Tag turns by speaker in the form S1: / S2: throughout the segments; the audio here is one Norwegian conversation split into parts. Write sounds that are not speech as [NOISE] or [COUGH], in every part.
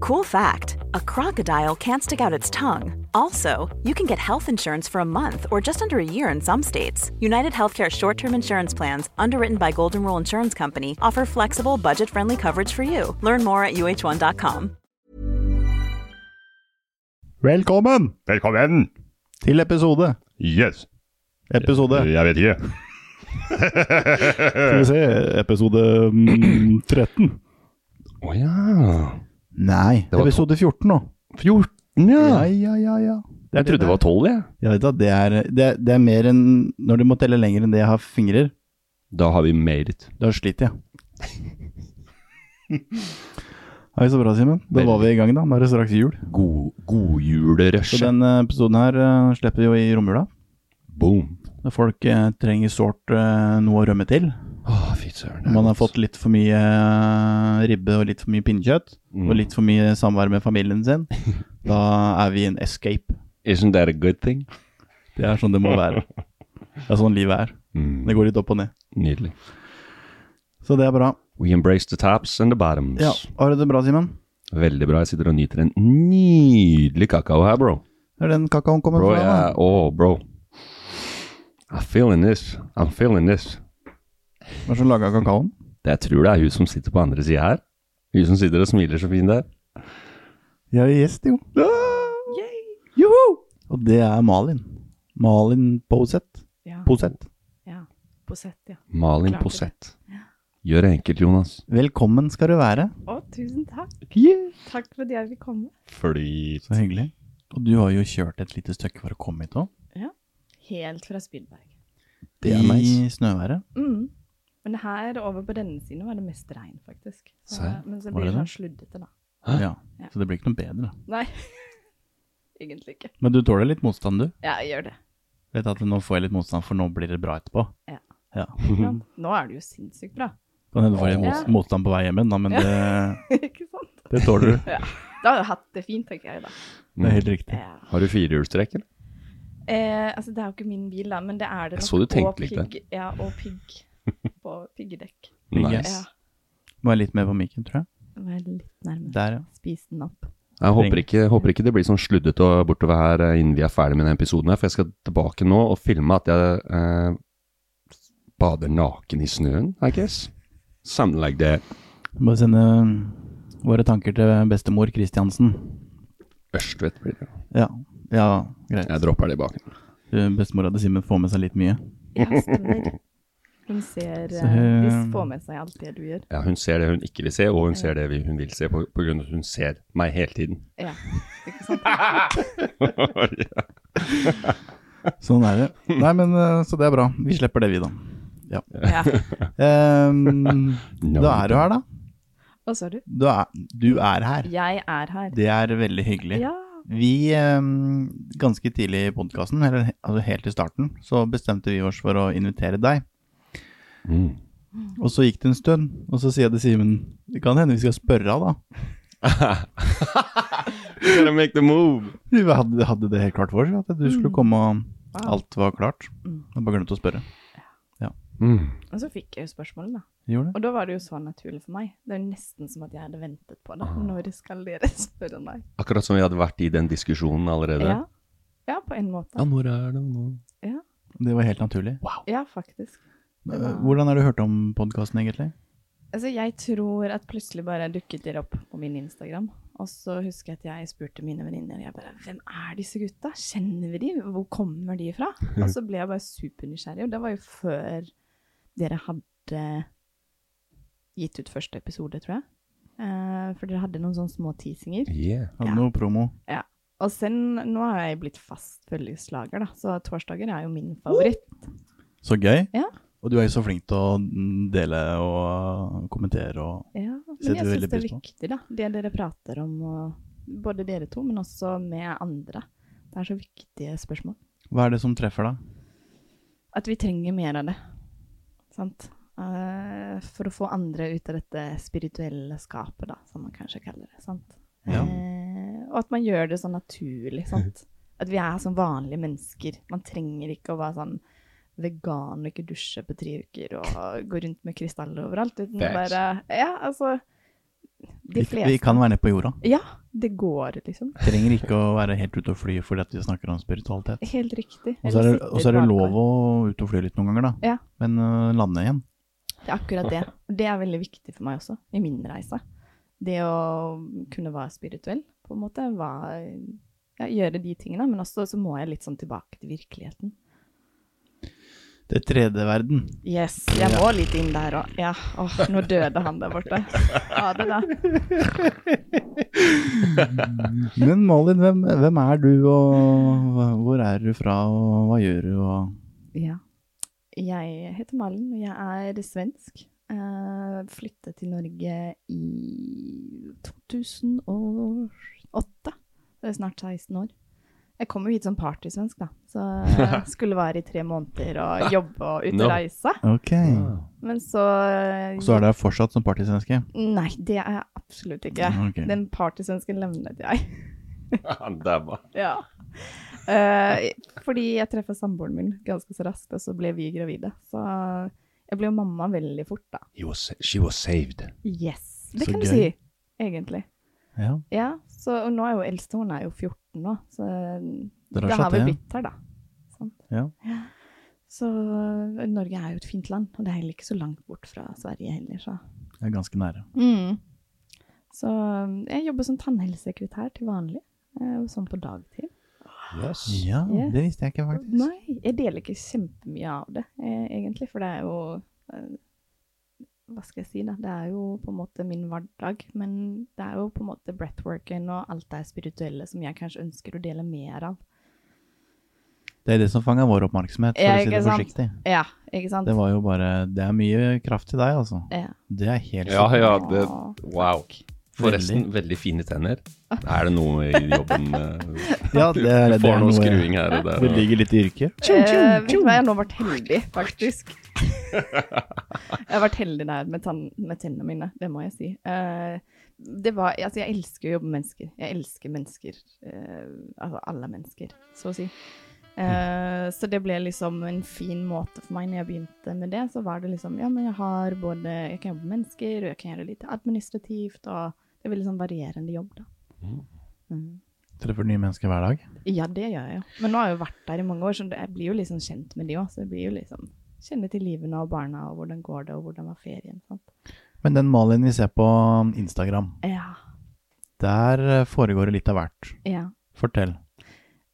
S1: Cool fact a crocodile can't stick out its tongue. Also, you can get health insurance for a month or just under a year in some states. United Healthcare short term insurance plans, underwritten by Golden Rule Insurance Company, offer flexible, budget friendly coverage for you. Learn more at uh1.com.
S2: Velkommen
S3: Velkommen!
S2: til episode.
S3: Yes.
S2: Episode
S3: Jeg vet ikke.
S2: Skal vi se, episode mm, [CLEARS THROAT] 13.
S3: Å ja.
S2: Nei,
S3: var
S2: episode 14 nå.
S3: 14,
S2: Ja, ja, ja. ja.
S3: Jeg trodde det var 12, jeg.
S2: Jeg vet at det er, det, er- det er mer enn Når du må telle lenger enn det jeg har fingrer,
S3: Da har vi made it.
S2: da
S3: [LAUGHS]
S2: sliter jeg. Hei, så bra, Simen. Da var vi i gang, da. Nå er det straks jul.
S3: God, godjulerush.
S2: Så denne episoden her eh, slipper jo i romjula.
S3: Boom.
S2: Når folk eh, trenger sårt eh, noe å rømme til.
S3: Å, fy søren. det er
S2: Man har
S3: godt.
S2: fått litt for mye eh, ribbe og litt for mye pinnekjøtt. Og litt for mye samvær med familien [LAUGHS] sin. Da er vi en escape.
S3: Isn't that a good thing?
S2: Det er sånn det må være. Det er sånn livet er. Det går litt opp og ned.
S3: Nydelig.
S2: Så det er bra.
S3: We embrace the tops and the bottoms.
S2: Ja, Har du det bra, Simen?
S3: Veldig bra. Jeg sitter og nyter en nydelig kakao her, bro.
S2: Det er den kakaoen kommer
S3: Bro,
S2: fra.
S3: jeg
S2: da.
S3: oh, bro. I'm feeling this. I'm feeling this.
S2: Hva er det som laga kakaoen?
S3: Det jeg tror det er hun som sitter på andre sida her. Hun som sitter og smiler så fint der.
S2: Jeg er gjest, jo.
S3: Joho!
S2: Ah! Og det er Malin. Malin Poseth.
S4: Ja.
S2: Poseth.
S4: Ja. Posett, ja.
S3: Malin
S4: Klarte
S3: Posett. Gjør det enkelt, Jonas.
S2: Velkommen skal du være.
S4: Å, tusen takk. Takk for at jeg vil komme.
S3: Fordi
S2: Så hyggelig. Og du har jo kjørt et lite stykke for å komme hit òg.
S4: Helt fra Spillberg.
S3: Det er nice.
S2: I snøværet.
S4: Mm. Men her over på denne siden var det mest regn, faktisk. Så,
S3: Serr?
S4: men så
S2: Var
S4: blir
S2: det
S4: det
S2: det?
S4: sånn sluddete, da.
S2: Ja. Så det blir ikke noe bedre.
S4: Nei, [LAUGHS] egentlig ikke.
S2: Men du tåler litt motstand, du?
S4: Ja, jeg gjør det.
S2: Vet at nå får jeg litt motstand, for nå blir det bra etterpå.
S4: Ja.
S2: Ja.
S4: Ja, nå er det jo sinnssykt bra. [LAUGHS]
S2: Kan hende du får litt
S4: Ja.
S2: mot- motstand på vei hjem igjen, da, men det,
S4: ikke sant?
S2: det tåler du.
S4: Ja. Da har jeg hatt det fint, tenker jeg da.
S2: Det er helt riktig.
S4: Mm. Ja.
S3: [LAUGHS] Har du firehjulstrekk, eller?
S4: Eh, altså, det er jo ikke min bil, da, men det er det
S3: Jeg
S4: nok.
S3: så du tenkte
S4: og
S3: litt der.
S4: pigg- Ja, og
S3: [LAUGHS]
S4: pigg. På piggdekk.
S2: Yes.
S3: Nice.
S4: Ja.
S2: Må være litt mer på mikken, tror jeg.
S4: Nå er jeg litt nærmere.
S2: Der, ja.
S4: Spis den opp.
S3: Jeg håper ikke, håper ikke det blir sånn sluddete og bortover her eh, innen vi er ferdig med denne episoden, her, for jeg skal tilbake nå og filme at jeg eh, bader naken i snøen, I guess. Something like that.
S2: Må sende mm, våre tanker til bestemor Kristiansen.
S3: Ørstvedt blir det.
S2: Ja, ja greit.
S3: Jeg dropper det i baken.
S2: Du, Bestemora til Simen får med seg litt mye.
S4: Ja, stemmer. Hun ser
S2: Så,
S4: eh, De
S2: eh,
S4: får med seg alt det du gjør.
S3: Ja, hun ser det hun ikke vil se, og hun ser det vi- hun vil se, på, på grunn av at hun ser meg hele [LAUGHS] tiden.
S4: Ja, ikke sant?
S3: ja.
S2: Sånn er det. Nei, men eh, så det er bra. Vi slipper det, vi, da. Ja.
S4: Ja.
S2: [LAUGHS] Ehm,
S3: No,
S2: da er du her, da.
S4: Hva sa du?
S2: Du er, du er her.
S4: Jeg er her.
S2: Det er veldig hyggelig.
S4: Ja.
S2: Vi, eh, ganske tidlig i podkasten, eller he- altså helt i starten, så bestemte vi oss for å invitere deg.
S3: Mm.
S2: Og så gikk det en stund, og så sier jeg til Simen Det kan hende vi skal spørre av, da.
S3: You gotta make the move.
S2: Vi hadde, hadde det helt klart for oss, at du
S4: Mm.
S2: skulle komme og alt var klart. Jeg bare glemte å spørre.
S3: Mm.
S4: Og så fikk jeg jo spørsmålet, da.
S2: Vi Gjorde det?
S4: Og da var det jo så naturlig for meg. Det er jo nesten som at jeg hadde ventet på det. Når skal dere [LAUGHS] spørre meg?
S3: Akkurat som vi hadde vært i den diskusjonen allerede.
S4: Ja. ja, på en måte.
S3: når er det nå?
S4: Ja,
S2: Det var helt naturlig.
S4: ja faktisk.
S2: Eh, Hvordan har du hørt om podkasten, egentlig?
S4: Altså, jeg tror at plutselig bare dukket dere opp på min Instagram. Og så husker jeg at jeg spurte mine venninner jeg bare, hvem er disse gutta. Kjenner vi de? Hvor kommer de fra? Og så ble jeg bare supernysgjerrig. Og det var jo før dere hadde gitt ut første episode, tror jeg. Eh, for dere hadde noen sånne små teasinger.
S3: Yeah.
S2: Hadde
S4: Ja.
S2: noe promo.
S4: Og sen, nå har jeg blitt fast følgeslager, da. Så torsdager er jo min favoritt.
S2: Så gøy.
S4: Ja.
S2: Og du er jo så flink til å dele og kommentere og
S4: Ja,
S2: Setter du
S4: men
S2: veldig
S4: jeg syns det er
S2: pris på.
S4: viktig, da. Det dere prater om, og både dere to, men også med andre. Det er så viktige spørsmål.
S2: Hva er det som treffer deg?
S4: At vi trenger mer av det. Sant? Eh, For å få andre ut av dette spirituelle skapet, da, som man kanskje kaller det. Sant?
S2: Ja.
S4: Eh, og at man gjør det så
S2: [LAUGHS]
S4: naturlig. Sant? At vi er som vanlige mennesker. Man trenger ikke å være sånn vegan og ikke dusje på tre uker og gå rundt med krystaller overalt. Uten å
S3: Facts.
S4: bare Ja, altså De
S2: Vi,
S4: fleste
S2: vi kan være nede på jorda.
S4: Ja, det går, liksom.
S2: Trenger ikke å være helt ute og fly fordi at vi snakker om spiritualitet.
S4: Helt riktig.
S2: Og så er det,
S4: Eller
S2: og så er det
S4: sitter
S2: lov
S4: bakgård.
S2: å ut og fly litt noen ganger, da.
S4: Ja.
S2: Men øh, lande igjen.
S4: Det er akkurat det. Og det er veldig viktig for meg også, i min reise. Det å kunne være spirituell, på en måte. Hva, ja, gjøre de tingene. Men også så må jeg litt sånn tilbake til virkeligheten.
S2: Det tredje verden.
S4: Yes, jeg må litt inn der òg. Ja, åh, nå døde han der borte. Ha det, da.
S2: Men Malin, hvem, hvem er du, og hva- hvor er du fra, og hva gjør du, og
S4: Ja. Jeg heter Malin, og jeg er svensk. Uh, flyttet til Norge i 2008. Det er snart 16 år. Jeg kom jo hit som partysvensk, da.
S2: [LAUGHS]
S4: Så jeg skulle være i tre måneder og jobbe og ut og
S3: No.
S4: reise.
S2: Ok.
S4: Men så
S2: Så er du her fortsatt som partysvenske?
S4: Nei, det er jeg absolutt ikke.
S2: Ok.
S4: Den partysvensken levnet jeg.
S3: Dæva.
S4: Ja. Eh, fordi jeg treffer samboeren min ganske så raskt, og så ble vi gravide. Så jeg ble jo mamma veldig fort, da.
S3: She was saved.
S4: Yes. Det
S2: Så
S4: kan
S2: gøy.
S4: du si, egentlig.
S2: Ja.
S4: Ja, så, og nå er jo eldste, hun er jo 14 nå, så
S2: Dere har
S4: det har
S2: slått det,
S4: vi
S2: ja.
S4: blitt her, da. Sant?
S2: ja.
S4: Så øh, Norge er jo et fint land, og det er heller ikke så langt bort fra Sverige heller, så.
S2: Jeg er ganske nære.
S4: Mm. Så øh, jeg jobber som tannhelsesekretær til vanlig, eh, og sånn på dagtid.
S3: Yes.
S2: Ja,
S4: Ja.
S2: det visste jeg ikke, faktisk.
S4: Nei, jeg deler ikke kjempemye av det, eh, egentlig, for det er jo eh, Hva skal jeg si, da? Det er jo på en måte min hverdag, men det er jo på en måte breathworken og alt det spirituelle som jeg kanskje ønsker å dele mer av.
S2: Det er det som fanga vår oppmerksomhet, for
S4: Ja,
S2: å si det
S4: ikke sant?
S2: forsiktig.
S4: Ja, ikke sant?
S2: Det var jo bare Det er mye kraft til deg, altså.
S4: Ja.
S2: Det er helt
S3: Ja, ja, det
S4: Åh,
S3: Wow. Forresten, veldig fine tenner. Er det noe i jobben eh,
S2: Ja, det er,
S3: Du
S2: det
S3: får
S2: er
S3: noe
S2: noe-
S3: skruing her og der.
S2: Det
S3: og-
S2: ligger litt i yrket.
S4: Eh, vet du hva, jeg har nå vært heldig, faktisk. jeg har vært heldig der med, tann, med tennene mine, det må jeg si. Eh, det var, altså jeg elsker å jobbe med mennesker. Jeg elsker mennesker. eh, altså alle mennesker, så å si. Eh, så det ble liksom en fin måte for meg når jeg begynte med det. Så var det liksom Ja, men jeg har både Jeg kan jobbe med mennesker, og jeg kan gjøre litt administrativt, og det blir liksom varierende jobb, da.
S2: Treffer nye mennesker hver dag.
S4: Ja, det gjør jeg jo. Men nå har jeg jo vært der i mange år, så det- jeg blir jo liksom kjent med de òg. Så jeg blir jo liksom kjenne til livene og barna, og hvordan går det, og hvordan var ferien. Sant?
S2: Men den Malin vi ser på Instagram,
S4: Ja.
S2: der eh, foregår det litt av hvert.
S4: ja.
S2: Fortell.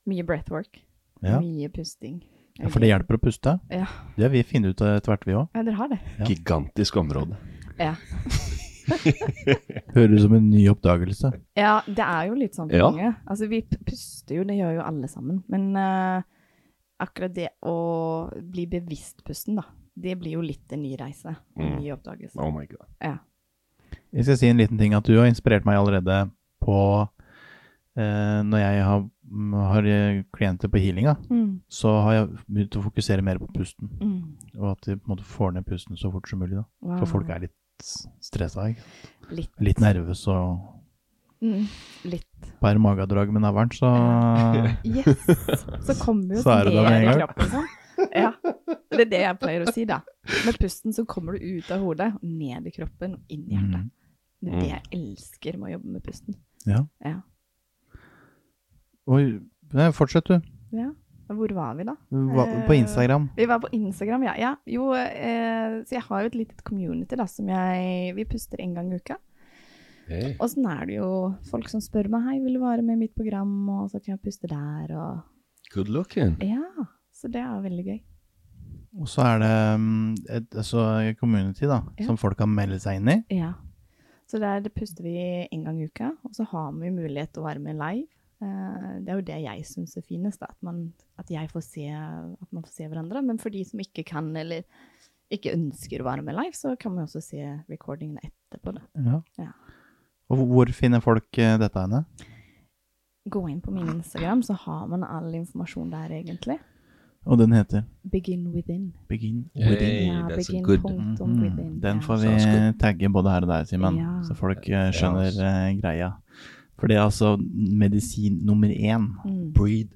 S4: Mye breathwork.
S2: Ja.
S4: Mye pusting.
S2: Ja, for det hjelper å puste.
S4: Ja.
S2: Det har vi funnet ut etter hvert, vi òg.
S4: ja, dere har det.
S2: Ja.
S3: Gigantisk område.
S4: Ja.
S2: Høres ut som en ny oppdagelse.
S4: ja, det er jo litt sånn for
S3: Ja.
S4: mange. Altså, vi p- puster jo, det gjør jo alle sammen. Men eh, akkurat det å bli bevisst pusten, da, det blir jo litt en ny reise. En
S3: Mm.
S4: ny oppdagelse.
S3: Oh my god.
S4: Ja.
S2: Jeg skal si en liten ting at du har inspirert meg allerede på eh, Når jeg har, mm, har eh, klienter på healinga,
S4: Mm,
S2: så har jeg begynt å fokusere mer på pusten.
S4: mm.
S2: Og at de på en måte får ned pusten så fort som mulig. da.
S4: Wow.
S2: For folk er litt stressa. ikke?
S4: litt,
S2: Litt nervøse og
S4: Mm, litt.
S2: bærer magedrag med navlen, så
S4: Yes!
S2: [LAUGHS]
S4: Så kommer jo
S2: Så er
S4: det
S2: du der med en
S4: i
S2: gang.
S4: kroppen. sånn. Ja. Det er det jeg pleier å si, da. Med pusten så kommer du ut av hodet, og ned i kroppen og inn i hjertet.
S2: Mm.
S4: Det er det jeg elsker med å jobbe med pusten.
S2: Ja.
S4: Ja.
S2: Oi, nei, fortsett, du.
S4: ja. Hvor var vi da?
S2: Hva,
S4: Eh.
S2: på Instagram.
S4: Vi var på Instagram, ja. ja. Jo, eh, så jeg har jo et litet community da, som jeg Vi puster en gang i uka.
S3: Hey.
S4: Og sånn er det jo folk som spør meg Hei, vil du være med i mitt program, og så kan jeg puste der, og
S3: Good looking.
S4: Ja. Så det er veldig gøy.
S2: Og så er det mm, et altså, community da,
S4: Ja.
S2: som folk kan melde seg inn i.
S4: Ja. Så der det puster vi en gang i uka, og så har vi mulighet til å være med live. Eh, Det er jo det jeg syns er finest, da, at, man, at, jeg får se, at man får se hverandre. Men for de som ikke kan eller ikke ønsker å være med live, så kan man jo også se recordingene etterpå. Da.
S2: Ja.
S4: Ja.
S2: Og hvor- hvor finner folk eh, dette henne?
S4: Gå inn på min Instagram, så har man all informasjon der, egentlig.
S2: Og den heter
S4: Begin within.
S2: Begin
S3: Hey,
S2: Within.
S4: Ja,
S3: that's a
S4: begin
S3: good-
S4: punktum within.
S2: Mm, den
S4: Ja.
S2: får
S3: Sounds
S2: vi
S3: good.
S2: tagge både her og der, Simen,
S4: Ja.
S2: så folk eh, skjønner
S3: ass.
S2: eh, greia. For det er altså medisin nummer én.
S4: Mm,
S3: Breathe,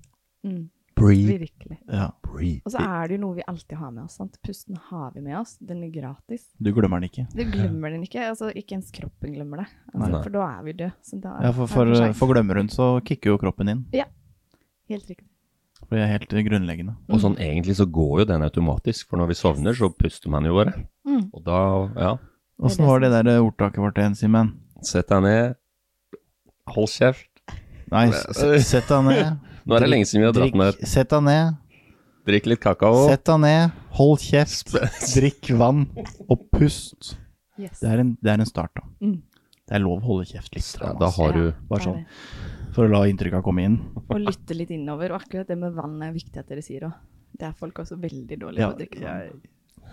S4: mm,
S3: breathe,
S4: virkelig.
S2: Ja,
S3: breathe.
S4: Og så er det jo noe vi alltid har med oss. sant? Pusten har vi med oss. Den er gratis.
S2: du glemmer den ikke.
S4: Du glemmer den ikke. altså Ikke ens kroppen glemmer det. Altså,
S3: Nei.
S4: for da er vi døde. Så da
S2: Ja, for, for, eh,
S4: er det
S2: for
S4: sjanse.
S2: glemmer hun, så kicker jo kroppen inn.
S4: Helt riktig.
S2: For det er helt eh, grunnleggende.
S3: Og sånn egentlig så går jo den automatisk, for når vi sovner, så puster man jo bare.
S4: Mm.
S3: Og da, ja,
S2: Åssen var det der eh, ordtaket vårt igjen, Simen?
S3: sett deg ned, hold kjeft.
S2: Nei, s-
S3: [LAUGHS]
S2: s- sett deg ned.
S3: Nå er det lenge siden vi har dratt
S2: Drikk-
S3: ned.
S2: Sett deg ned.
S3: Drikk litt kakao.
S2: Sett deg ned. Hold
S3: [LAUGHS]
S2: kjeft. Drikk vann. Og pust.
S4: Yes.
S2: Det er en, det er en start, da.
S4: Mm.
S2: Det er lov å holde kjeft litt.
S3: Ja,
S2: ass.
S3: da har du
S2: Bare
S4: det er
S2: sånn.
S4: det.
S2: For å la inntrykka komme inn.
S4: Og lytte litt innover. Og akkurat det med vann er viktig at dere sier òg. Det er folk også veldig dårlige
S2: Ja,
S4: på å drikke vann.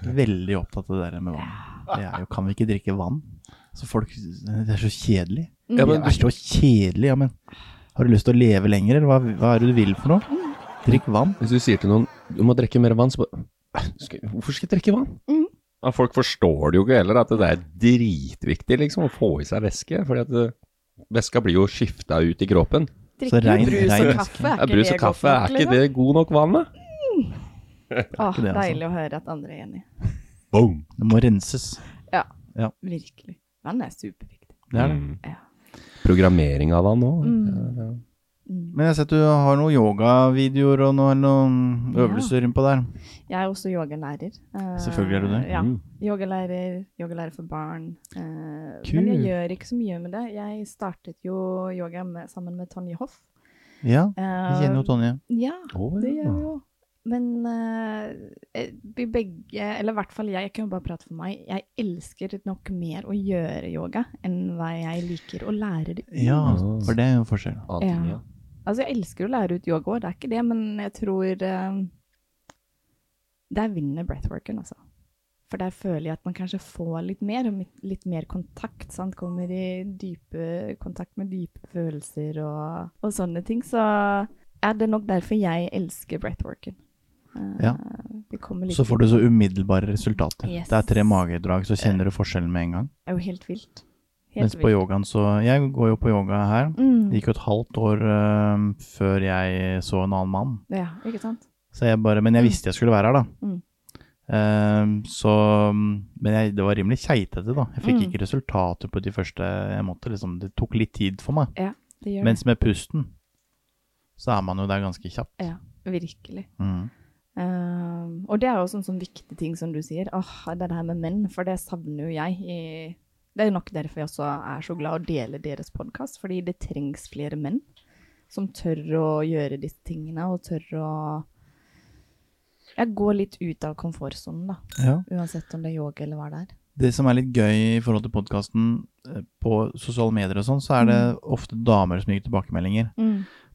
S2: jeg er veldig opptatt av det der med vann. Det er jo, kan vi ikke drikke vann? Så folk, Det er så kjedelig.
S4: Mm.
S3: Ja, men
S2: det er så kjedelig, ja, men Har du lyst til å leve lenger, eller hva, hva er det du vil for noe?
S4: Mm.
S2: Drikk vann.
S3: Hvis du sier til noen du må drikke mer vann, så bare skal, Hvorfor skal jeg drikke vann?
S4: Mm.
S3: Ja, folk forstår det jo ikke heller, at det er dritviktig liksom, å få i seg væske. fordi at eh, væska blir jo skifta ut i kroppen.
S4: Drikke
S2: rein-
S4: brus
S2: rein
S4: og
S2: væske.
S4: kaffe, er
S3: Ja, brus
S4: ikke det liksom?
S3: og kaffe, er ikke det god nok vann, da?
S4: Åh,
S2: det, altså.
S4: Deilig å høre at andre er enig.
S3: Boom!
S2: Det må renses.
S4: Ja.
S2: Ja.
S4: Virkelig. Vann er superviktig.
S2: Det
S3: Mm.
S2: er det.
S4: Mm. Ja.
S3: Programmering av vann òg.
S4: Mm.
S2: Men jeg har sett du har noen yogavideoer og noen, noen
S4: Ja.
S2: øvelser innpå der.
S4: Jeg er også yogalærer. Eh,
S2: Selvfølgelig er du det.
S4: Ja.
S3: Mm.
S4: Yogalærer, yogalærer for barn. eh, Men
S2: Kult.
S4: jeg gjør ikke så mye med det. Jeg startet jo yoga med, sammen med Tonje Hoff.
S2: Ja,
S4: Eh,
S2: vi kjenner jo Tonje.
S4: Ja,
S3: Å,
S4: det
S3: ja.
S4: gjør vi jo. Men eh, vi begge, eller i hvert fall jeg, jeg kan jo bare prate for meg, jeg elsker nok mer å gjøre yoga enn hva jeg liker å lære det.
S2: Ja, for det er jo en forskjell.
S4: Ja. Altså, jeg elsker å lære ut yoga, også, det er ikke det, men jeg tror eh, Der vinner breathworken, altså. For der føler jeg at man kanskje får litt mer, og litt- litt mer kontakt. Sant? Kommer i dype kontakt med dype følelser og, og sånne ting. Så er det nok derfor jeg elsker breathworken. Eh,
S2: Ja.
S4: Det kommer litt
S2: Så får du så umiddelbare resultater.
S4: Yes.
S2: Det er tre magedrag, så kjenner du forskjellen med en gang.
S4: Det er jo helt vilt. Helt
S2: Mens på yogaen så Jeg går jo på yoga her. Det
S4: Mm.
S2: gikk jo et halvt år øhm, før jeg så en annen mann.
S4: Ja, ikke sant?
S2: Så jeg bare, men jeg visste jeg skulle være her, da.
S4: Mm.
S2: Ehm, så Men jeg, det var rimelig keitete, da. Jeg fikk
S4: Mm.
S2: ikke resultater på de første jeg måtte. liksom, Det tok litt tid for meg.
S4: Det gjør
S2: Mens med pusten så er man jo der ganske kjapt.
S4: det. Ja, virkelig.
S2: Mm.
S4: Um, og det er jo sånn, sånn viktig ting som du sier. Åh, det der med menn, for det savner jo jeg. I, det er jo nok derfor jeg også er så glad å dele deres podkast, fordi det trengs flere menn som tør å gjøre disse tingene, og tør å ja, gå litt ut av komfortsonen, da.
S2: Ja.
S4: Uansett om det er yoga eller hva det er.
S2: Det som er litt gøy i forhold til podkasten på sosiale medier og sånn, så er det
S4: Mm.
S2: ofte damer som gir tilbakemeldinger.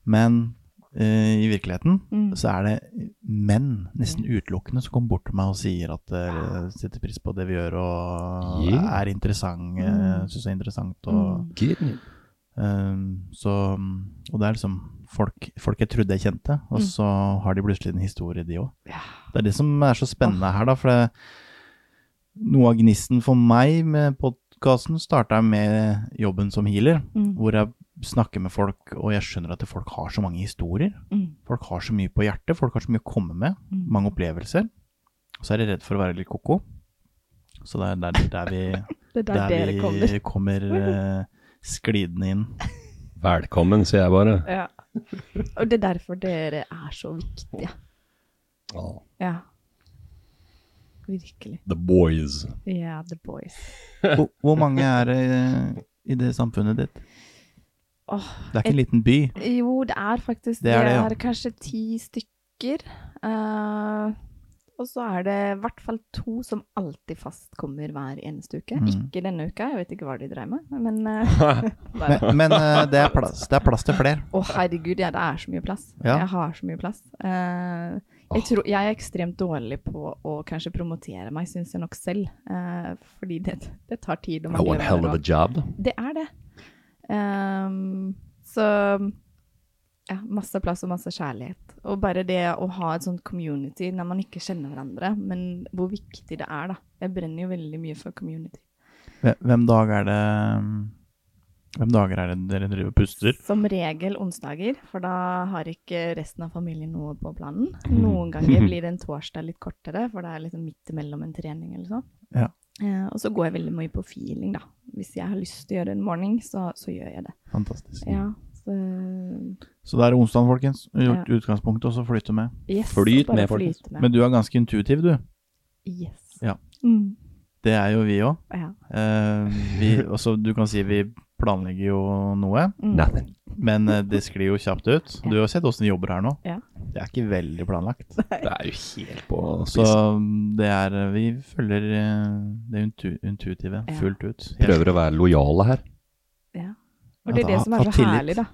S2: Men eh, i virkeligheten
S4: Mm.
S2: så er det menn, nesten utelukkende, som kommer bort til meg og sier at de setter pris på det vi gjør, og
S3: Yeah.
S2: er interessant,
S4: Mm.
S2: uh, syns det er interessant. Og, eh, så, og det er liksom folk, folk jeg trodde jeg kjente, og
S4: Mm.
S2: så har de plutselig en historie, de òg.
S4: Ja.
S2: Det er det som er så spennende her, da, for det, noe av gnisten for meg med podkasten starta med jobben som healer,
S4: Mm.
S2: hvor jeg snakker med folk, og jeg skjønner at folk har så mange historier.
S4: Mm.
S2: Folk har så mye på hjertet, folk har så mye å komme med,
S4: Mm.
S2: mange opplevelser. Og så er de redd for å være litt koko. Så det er der, der vi,
S4: Det er [LAUGHS] der,
S2: der
S4: dere
S2: vi
S4: [LAUGHS] kommer.
S2: kommer eh, sklidende inn.
S3: Velkommen, sier jeg bare.
S4: Ja. Og det er derfor dere er så viktige.
S3: Ja.
S4: Ja. Virkelig.
S3: The boys.
S4: Ja, the boys.
S2: Hvor, hvor mange er det eh, i det samfunnet ditt?
S4: Åh,
S2: Det er ikke en liten by.
S4: Jo, det er faktisk
S2: Det er det, ja.
S4: kanskje ti stykker. Eh, og så er det i hvert fall to som alltid fast kommer hver eneste uke.
S2: Mm.
S4: Ikke denne uka, jeg vet ikke hva de dreier med, men eh,
S2: [LAUGHS]
S4: bare-
S2: Men, men eh, det, er plass, det er plass til flere.
S4: Å, herregud, ja, det er så mye plass.
S2: Ja.
S4: Jeg har så mye plass. Eh, jeg, tror, jeg er ekstremt dårlig på å kanskje promotere meg, syns jeg nok selv. Eh, fordi det, det tar tid. og man
S3: One
S4: glemmer
S3: hell of a
S4: og-
S3: job.
S4: Det er det. Ehm, så ja, masse plass og masse kjærlighet. Og bare det å ha et sånt community når man ikke kjenner hverandre, men hvor viktig det er, da. Jeg brenner jo veldig mye for community.
S2: Hve- Hvem dag er det mm, Hvem dager er det dere driver og puster?
S4: Som regel onsdager, for da har ikke resten av familien noe på planen. Noen ganger blir det en torsdag litt kortere, for det er liksom midt imellom en trening eller sånn.
S2: Ja.
S4: Eh, og så går jeg veldig mye på feeling, da. Hvis jeg har lyst til å gjøre en morgen, så, så gjør jeg det.
S2: Fantastisk.
S4: Ja, så
S2: Så da er det onsdag, folkens. Gjort
S4: Ja.
S2: utgangspunktet, og så flytte med.
S4: yes,
S3: Flyt
S4: bare
S3: med, folkens.
S4: flyt med.
S2: Men du er ganske intuitiv, du.
S4: Yes.
S2: Ja.
S4: Mm,
S2: Det er jo vi Eh, òg.
S4: ja.
S2: du kan si vi planlegger jo noe,
S4: Mm.
S3: Nothing.
S2: men eh, det sklir jo kjapt ut. Du har sett åssen de jobber her nå.
S4: Ja.
S2: Det er ikke veldig planlagt.
S3: Det er jo helt på
S2: Så
S3: spissen.
S2: det er Vi følger eh, det intu intuitive
S4: Ja.
S2: fullt ut.
S3: Prøver å være lojale her.
S4: ja. Og det
S2: At-
S4: er det som
S2: ha
S4: er så
S2: tillit.
S4: herlig, da.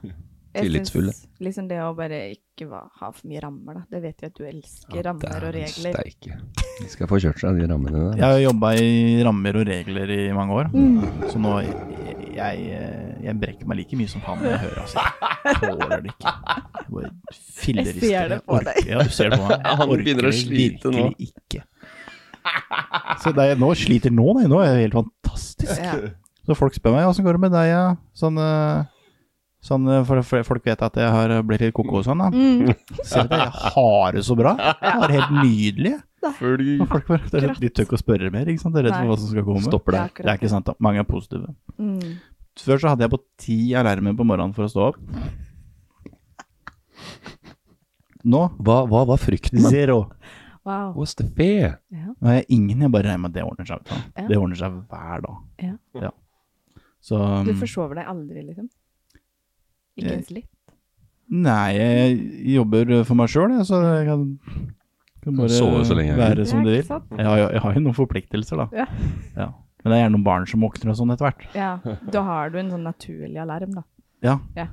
S4: Jeg syns
S3: Tillitsfulle.
S4: Liksom det å bare ikke va- ha for mye rammer, da. Det vet vi at du elsker, rammer og
S3: Dæven
S4: regler.
S3: Steike. De skal få kjørt seg, de rammene der.
S2: Jeg har jobba i rammer og regler i mange år,
S4: Mm.
S2: så nå jeg, jeg, jeg brekker meg like mye som han når jeg hører altså. Jeg tåler det ikke. Jeg bare fillerister.
S4: Jeg ser det på
S2: orker- Ja, du ser det
S3: [LAUGHS]
S2: på meg. Jeg
S3: Han
S2: orker
S3: begynner å
S2: det
S3: slite nå.
S2: virkelig Ikke. Så det er, nå sliter nå, nei. Nå er jeg helt fantastisk.
S4: Ja.
S2: Så folk spør meg åssen går det med deg, ja. Sånn, eh, sånn eh, for, for folk vet at jeg har blitt litt koko og sånn. Da.
S4: Mm,
S2: Ser du det? Jeg har det så bra. Jeg har det helt nydelig.
S3: Følg-
S2: Og folk bare, det er, de tør ikke å spørre mer, ikke sant? De er redd for
S4: Nei.
S2: hva som skal komme.
S3: Stopper
S4: Det er
S3: der.
S4: akkurat
S2: Det er ikke sant, da. Mange er positive.
S4: Mm.
S2: Før så hadde jeg på ti alarmer på morgenen for å stå opp. Nå
S3: Hva, hva var frykten? da?
S2: zero.
S4: Wow.
S3: What's the fear?
S4: Ja.
S2: Nå har jeg ingen, jeg bare regner med at det ordner seg. vet du.
S4: Ja.
S2: Det ordner seg hver dag.
S4: Ja.
S2: Ja. Så um,
S4: Du forsover deg aldri, liksom? Ikke
S2: Jeg-
S4: ens litt?
S2: Nei, jeg jobber for meg sjøl, jeg, så jeg kan, kan bare
S3: Sove så lenge jeg vil.
S2: være som
S4: Ja,
S2: det
S4: ikke
S2: vil.
S4: sant?
S2: Jeg har, jo- jeg har jo noen forpliktelser, da.
S4: Ja.
S2: Ja. Men det er gjerne noen barn som våkner og sånn etter hvert.
S4: Ja, da har du en sånn naturlig alarm, da.
S2: Ja.
S4: Ja.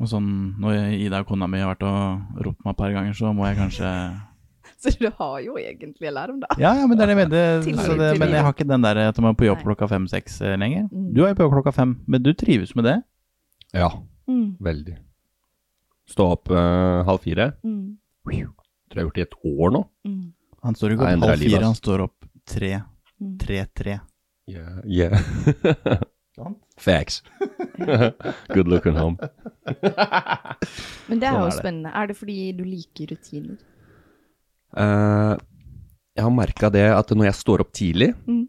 S2: Og sånn, når jeg- Ida og kona mi har vært og ropt meg et par ganger, så må jeg
S3: [LAUGHS]
S2: kanskje
S4: [LAUGHS] Så du har jo egentlig alarm, da.
S2: Ja, ja, men det er det jeg mener.
S4: Tillit
S2: Så det,
S4: til
S2: men jeg
S4: livet.
S2: har ikke den der at man er på jobb
S4: Nei.
S2: klokka fem-seks lenger.
S4: Mm.
S2: Du er jo på jobb klokka fem, men du trives med det.
S3: Ja,
S4: Mm,
S3: veldig. Stå opp eh, halv fire.
S4: mm,
S3: Tror jeg har gjort det i et år nå.
S4: mm.
S2: Han står
S3: Nei,
S2: ikke opp
S3: endrer
S2: halv
S3: livet,
S2: fire,
S3: altså.
S2: han står opp tre.
S4: Mm.
S2: Tre-tre.
S3: Yeah. [LAUGHS] Facts. Good looking home.
S4: Men det er
S2: Sånn
S4: jo
S2: er det.
S4: spennende. Er det fordi du liker rutiner?
S3: Eh, jeg har merka det at når jeg står opp tidlig
S4: Mm.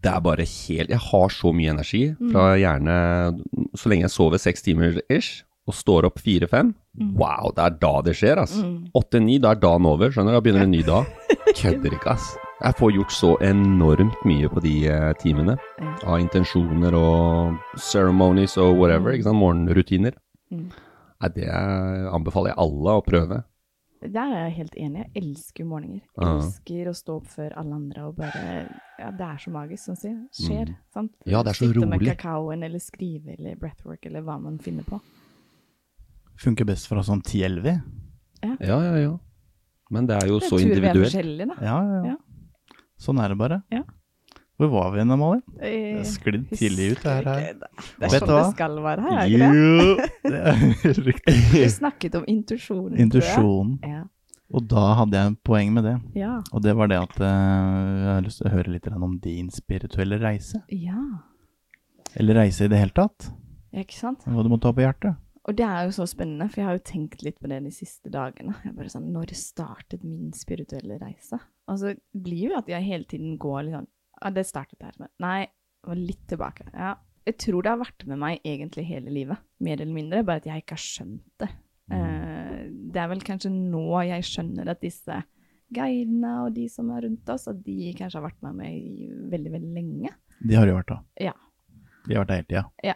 S3: Det er bare helt Jeg har så mye energi fra gjerne Så lenge jeg sover seks timer ish, og står opp fire-fem Wow, det er da det skjer, ass. Åtte-ni, da er dagen over. Skjønner du? Da begynner en ny dag. Kødder ikke, ass. Jeg får gjort så enormt mye på de eh, timene. Av intensjoner og ceremonies og whatever. Ikke sant? Morgenrutiner. Nei, det eh, anbefaler jeg alle å prøve.
S4: Der er jeg helt enig. Jeg elsker morgener. Jeg
S3: Ja.
S4: elsker å stå opp før alle andre og bare Ja, det er så magisk, sånn å si. Skjer. Sant?
S3: Mm. Ja, det er så
S4: Sitte med
S3: rolig.
S4: kakaoen eller skrive eller breathwork eller hva man finner på.
S2: Funker best fra sånn ti-elleve.
S3: Ja, ja, ja. Men det er jo
S4: Det
S3: så
S4: tror vi er
S3: individuelt.
S4: forskjellige, da.
S2: Ja, ja,
S4: Ja.
S2: ja. Sånn er det bare.
S4: Ja.
S2: Hvor var vi igjen, Amalie? Det
S4: Eh,
S2: er sklidd tidlig ut, det her.
S4: husker
S2: her.
S4: ikke. Det er
S2: Vet du
S4: sånn det
S2: hva?
S4: skal være her, er det ikke det?
S2: Jo, [LAUGHS] det er riktig.
S4: Du snakket om intuisjon. tror
S2: [LAUGHS]
S4: jeg.
S2: Intuisjonen.
S4: Ja.
S2: Og da hadde jeg en poeng med det.
S4: Ja.
S2: Og det var det at eh, jeg har lyst til å høre litt grann om din spirituelle reise.
S4: ja.
S2: Eller reise i det hele tatt.
S4: Ja, Ikke sant?
S2: Hva du må ta på hjertet.
S4: Og det er jo så spennende, for jeg har jo tenkt litt på det de siste dagene. Jeg bare sånn, Når startet min spirituelle reise? Altså, det blir jo at jeg hele tiden går litt sånn Ja, det startet der. Men nei, jeg var litt tilbake. Ja, Jeg tror det har vært med meg egentlig hele livet, mer eller mindre, bare at jeg ikke har skjønt det.
S2: Mm.
S4: Eh, det er vel kanskje nå jeg skjønner at disse guidene og de som er rundt oss, at de kanskje har vært med meg i veldig, veldig lenge.
S2: De har jo vært da.
S4: Ja.
S2: De har vært der hele tida.
S4: Ja.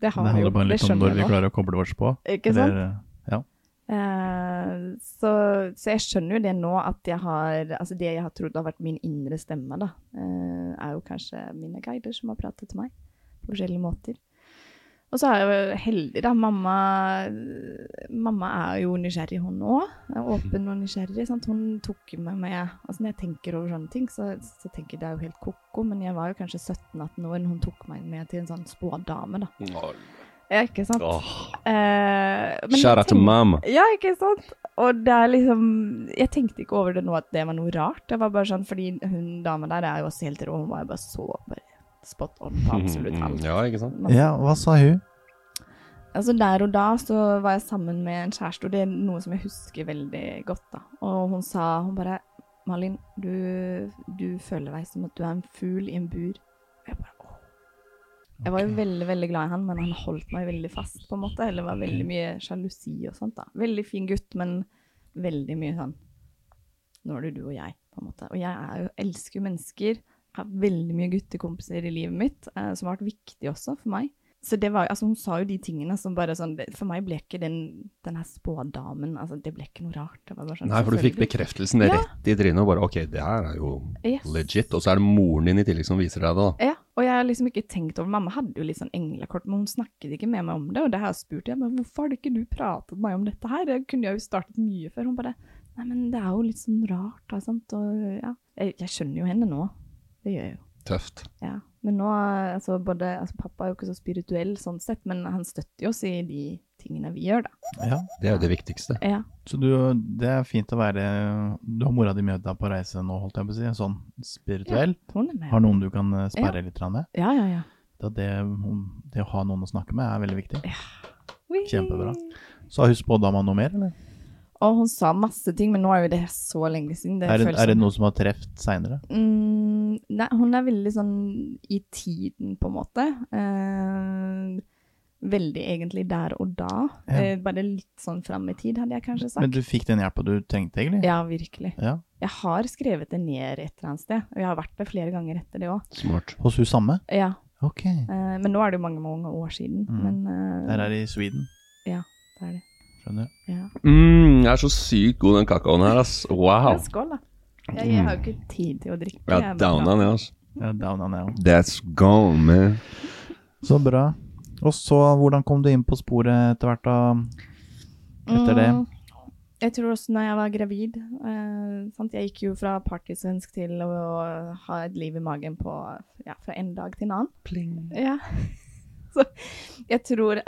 S4: Det
S2: Det
S4: har jeg
S2: handler
S4: jo.
S2: bare
S4: Det
S2: litt om når
S4: skjønner
S2: vi
S4: jeg nå.
S2: klarer å koble oss på.
S4: Ikke sant?
S2: Eller, ja.
S4: Eh, så, så jeg skjønner jo det nå at jeg har Altså det jeg har trodd har vært min indre stemme, da, eh, er jo kanskje mine guider som har pratet til meg på forskjellige måter. Og så er jeg jo heldig, da. Mamma, mamma er jo nysgjerrig, hun òg.
S3: Mhm.
S4: Åpen og nysgjerrig. Sant? Hun tok jo meg med altså Når jeg tenker over sånne ting, så, så tenker jeg det er jo helt ko-ko, men jeg var jo kanskje 17-18 år da hun tok meg med til en sånn spådame, da. Ja, ikke sant? Eh, men jeg
S3: Shout out to
S4: tenker-
S3: mom.
S4: ja, ikke sant? Og det er liksom Jeg tenkte ikke over det nå at det var noe rart. Det var bare sånn fordi hun dama der er jo også helt rå. Hun var jo bare så bare spot on på absolutt alt.
S3: Mm, Mm-hmm. Ja, ikke sant?
S4: Masse-
S2: ja, hva sa hun?
S4: Altså Der og da så var jeg sammen med en kjæreste, og det er noe som jeg husker veldig godt. da. Og hun sa Hun bare 'Malin, du, du føler deg som at du er en fugl i en bur'. Og jeg bare åh. Jeg var jo veldig veldig glad i han, men han holdt meg veldig fast, på en måte. Eller var veldig mye sjalusi og sånt. da. Veldig fin gutt, men veldig mye sånn Nå er det du og jeg, på en måte. Og jeg er jo, elsker jo mennesker. Har veldig mye guttekompiser i livet mitt, eh, som har vært viktig også for meg. Så det var, altså hun sa jo de tingene som bare sånn, det- for meg ble ikke den, den her spådamen, altså det ble ikke noe rart. Det var bare sånn,
S3: Nei, for du fikk
S4: selvfølgelig.
S3: bekreftelsen
S4: Ja.
S3: rett i trynet og bare ok, det her er jo
S4: Yes.
S3: legit. Og så er det moren din i tillegg som viser deg det, da.
S4: Ja, og jeg har liksom ikke tenkt over, mamma hadde jo litt sånn englekort, men hun snakket ikke med meg om det, og det har jeg spurt, jeg, men hvorfor har ikke du pratet med meg om dette her? Det kunne jeg jo startet mye før, hun bare, nei, men det er jo litt sånn rart, da, sant? Og ja, jeg, jeg skjønner jo henne nå, det gjør jeg jo.
S3: Tøft.
S4: Ja, men nå, eh, altså både, altså pappa er jo ikke så spirituell sånn sett, men han støtter jo oss i de tingene vi gjør da.
S2: Ja.
S3: Det er jo det viktigste.
S4: Ja,
S2: Så du, det er fint å være Du har mora di med deg på reise nå, holdt jeg på å si. Sånn spirituell.
S4: hun er med.
S2: Har noen du kan eh, sperre litt grann med?
S4: Ja, ja, ja.
S2: Da det, det å ha noen å snakke med er veldig viktig.
S4: Whee!
S2: Kjempebra. Så har hun spådama noe mer, eller?
S4: Og hun sa masse ting, men nå er jo det så lenge siden. Det
S2: Er det,
S4: føles
S2: er det
S4: som-
S2: noe som har truffet seinere?
S4: Mm, nei, hun er veldig sånn i tiden, på en måte. Eh, veldig egentlig der og da.
S2: Ja.
S4: Eh, bare litt sånn fram i tid, hadde jeg kanskje sagt.
S2: Men du fikk den hjelpa du trengte, egentlig?
S4: Ja, virkelig.
S2: Ja.
S4: Jeg har skrevet det ned et eller annet sted, og jeg har vært der flere ganger etter det også.
S3: Smart.
S2: Hos hun samme?
S4: Ja,
S2: Ok.
S4: eh, men nå er det jo mange, mange år siden.
S2: Mm.
S4: Men eh,
S2: Der er det i Sweden.
S4: Ja, det er det.
S2: Skjønner.
S4: Ja.
S3: Mm, jeg er så sykt god den kakaoen her, ass.
S4: Ja,
S3: Wow.
S4: skål, da. Jeg, jeg har jo ikke tid til å drikke.
S3: Jeg
S4: jeg
S3: har
S4: er bare
S3: downa
S4: glad.
S3: den, ass.
S2: Ja, down and down.
S3: That's gone, man.
S2: Så bra. Og så, hvordan kom du inn på sporet etter hvert, da? Etter det?
S4: Mm. Jeg tror også når jeg var gravid eh, sant? Jeg gikk jo fra partysvensk til å, å ha et liv i magen på, ja, fra en dag til en annen. Ja. [LAUGHS] Så jeg tror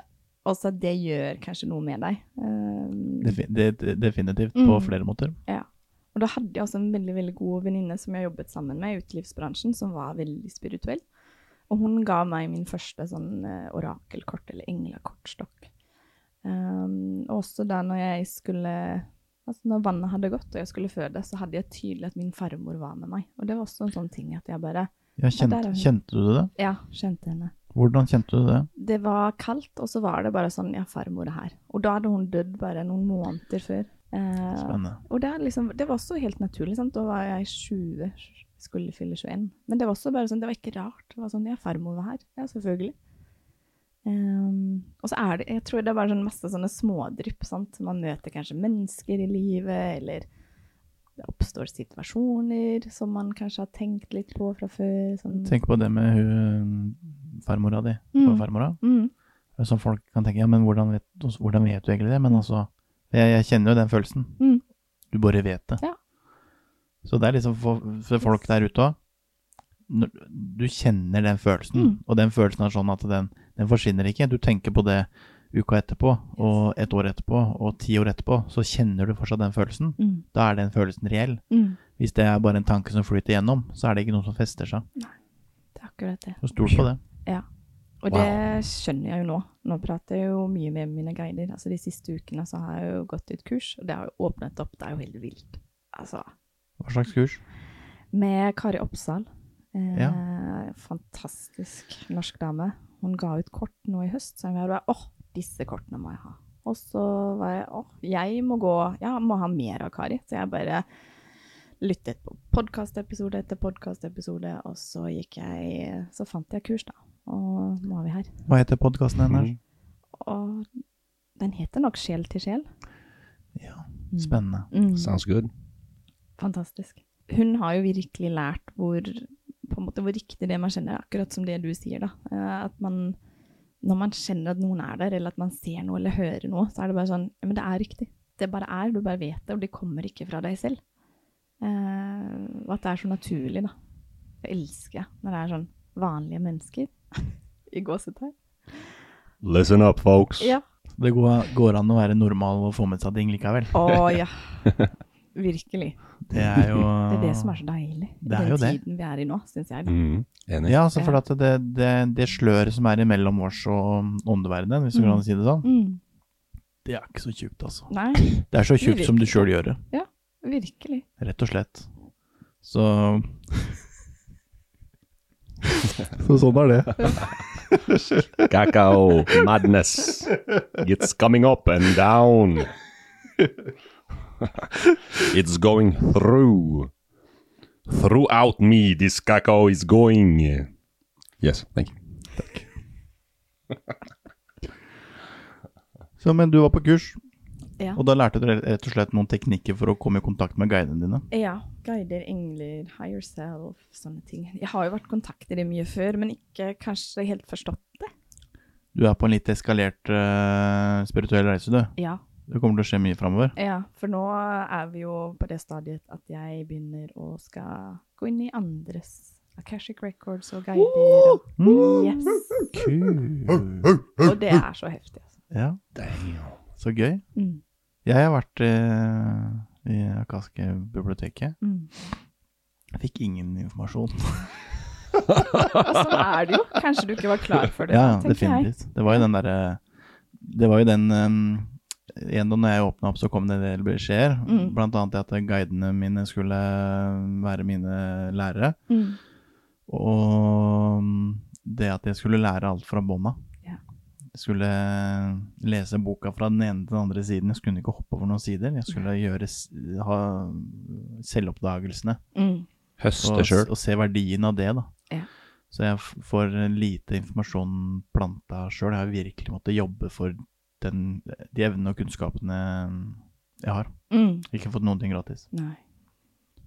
S4: også at det gjør kanskje noe med deg. Eh,
S2: Defi de de- definitivt,
S4: Mm.
S2: på flere måter.
S4: ja. Og da hadde jeg også en veldig, veldig god venninne som jeg jobbet sammen med i utelivsbransjen, som var veldig spirituell. Og hun ga meg min første sånn eh, orakelkort, eller englekortstokk. Um, og også da når jeg skulle Altså når vannet hadde gått og jeg skulle føde, så hadde jeg tydelig at min farmor var med meg. Og det var også en sånn ting at jeg bare
S2: Ja, kjent,
S4: der er hun.
S2: kjente du det?
S4: Ja, kjente henne.
S2: Hvordan kjente du det?
S4: Det var kaldt, og så var det bare sånn Ja, farmor er her. Og da hadde hun dødd bare noen måneder før. Eh,
S2: Spennende.
S4: og det, er liksom, det var også helt naturlig. Sant? Da var jeg 20, skulle fylle 21. Men det var også bare sånn, det var ikke rart. Det var sånn, ja, farmor var her. Ja, selvfølgelig. Ehm, og så er det, jeg tror det er bare sånn masse sånne smådrypp, sant. Man møter kanskje mennesker i livet, eller det oppstår situasjoner som man kanskje har tenkt litt på fra før. Sånn.
S2: Tenk på det med hun eh, farmora di.
S4: Mm.
S2: og farmora.
S4: Mm,
S2: Som folk kan tenke ja, men hvordan vet, hvordan vet du egentlig det? Men altså, jeg, jeg kjenner jo den følelsen.
S4: Mm.
S2: Du bare vet det.
S4: Ja.
S2: Så det er liksom for, for folk der ute òg. Du kjenner den følelsen,
S4: Mm.
S2: og den følelsen er sånn at den, den forsvinner ikke. Du tenker på det uka etterpå, og et år etterpå, og ti år etterpå. Så kjenner du fortsatt den følelsen.
S4: mm,
S2: Da er den følelsen reell.
S4: mm.
S2: Hvis det er bare en tanke som flyter gjennom, så er det ikke noe som fester seg.
S4: Det er akkurat det.
S2: Så Stol på det.
S4: Og
S3: Wow.
S4: det skjønner jeg jo nå. Nå prater jeg jo mye med mine guider. Altså De siste ukene så har jeg jo gått i et kurs, og det har jo åpnet opp. Det er jo helt vilt. Altså,
S2: Hva slags kurs?
S4: Med Kari Oppsal. Eh,
S2: Ja.
S4: Fantastisk norsk dame. Hun ga ut kort nå i høst, så jeg var åh, disse kortene må jeg ha. Og så var jeg åh, jeg må gå, jeg må ha mer av Kari. Så jeg bare lyttet på podkastepisode etter podkastepisode, og så gikk jeg, så fant jeg kurs, da. Og nå er vi her.
S2: Hva heter podkasten hennes?
S4: Og den heter nok Sjel til sjel.
S2: Ja,
S4: Mm.
S2: spennende.
S3: Sounds good.
S4: Fantastisk. Hun har jo virkelig lært hvor, på en måte, hvor riktig det man kjenner, er, akkurat som det du sier. da. Eh, At man, når man kjenner at noen er der, eller at man ser noe eller hører noe, så er det bare sånn ja, Men det er riktig. Det bare er. Du bare vet det, og det kommer ikke fra deg selv. Eh, og at det er så naturlig, da. Det elsker jeg når det er sånn vanlige mennesker. I gåsetegn.
S3: Listen up, folks.
S4: Ja.
S2: Det går, går an å være normal og få med seg ting likevel.
S4: Å ja. Virkelig.
S2: Det er jo
S4: [LAUGHS] Det er det som er så deilig. I
S2: Ah. Det er
S4: den
S2: jo det.
S4: tiden vi er i nå, syns jeg. da.
S3: Mm, enig.
S2: Ja, altså for at det, det, det sløret som er mellom oss og åndeverdenen, hvis du kan si det sånn,
S4: Mm.
S2: det er ikke så tjukt, altså.
S4: Nei,
S2: Det er så
S4: Det
S2: tjukt som du
S4: virker.
S2: sjøl gjør det,
S4: virkelig.
S2: rett og slett. Så Så sånn er det.
S3: Kakao madness. It's coming up and [LAUGHS] down. It's going through. Throughout me, this kakao is going. Yes, thank you.
S2: Så, men du var på kurs,
S4: Ja.
S2: og da lærte du re- rett og slett noen teknikker for å komme i kontakt med guidene dine.
S4: Ja. Guider, engler, higher self, sånne ting. Jeg har jo vært i kontakt i det mye før, men ikke kanskje helt forstått det.
S2: Du er på en litt eskalert eh, spirituell reise, du.
S4: Ja.
S2: Det kommer til å skje mye framover.
S4: ja. For nå er vi jo på det stadiet at jeg begynner å skal gå inn i andres Akashic Records og guider. Og,
S2: Mm.
S4: yes. og det er så heftig, altså.
S2: Ja. Så gøy.
S4: [LAUGHS] Mm.
S2: Jeg har vært eh, i Akaske biblioteket.
S4: Mm.
S2: Jeg fikk ingen informasjon.
S4: Og sånn er det jo. Kanskje du ikke var klar for det,
S2: Ja, ja,
S4: tenker jeg.
S2: definitivt. Det var jo den derre Det var jo den eh, en dag når jeg åpna opp, så kom det en del beskjeder.
S4: Mm.
S2: Blant annet det at guidene mine skulle være mine lærere.
S4: Mm.
S2: Og mm, det at jeg skulle lære alt fra bånda.
S4: Ja.
S2: Jeg skulle eh, lese boka fra den ene til den andre siden. Jeg skulle ikke hoppe over noen sider. Jeg skulle gjøre, s- ha selvoppdagelsene
S4: Mm.
S3: Høste
S2: og,
S3: sjøl.
S2: og se verdien av det. da.
S4: Ja.
S2: Så jeg f- får lite informasjon planta sjøl. Jeg har virkelig måttet jobbe for den, de evnene og kunnskapene jeg har.
S4: Mm.
S2: Ikke fått noen ting gratis.
S4: Nei.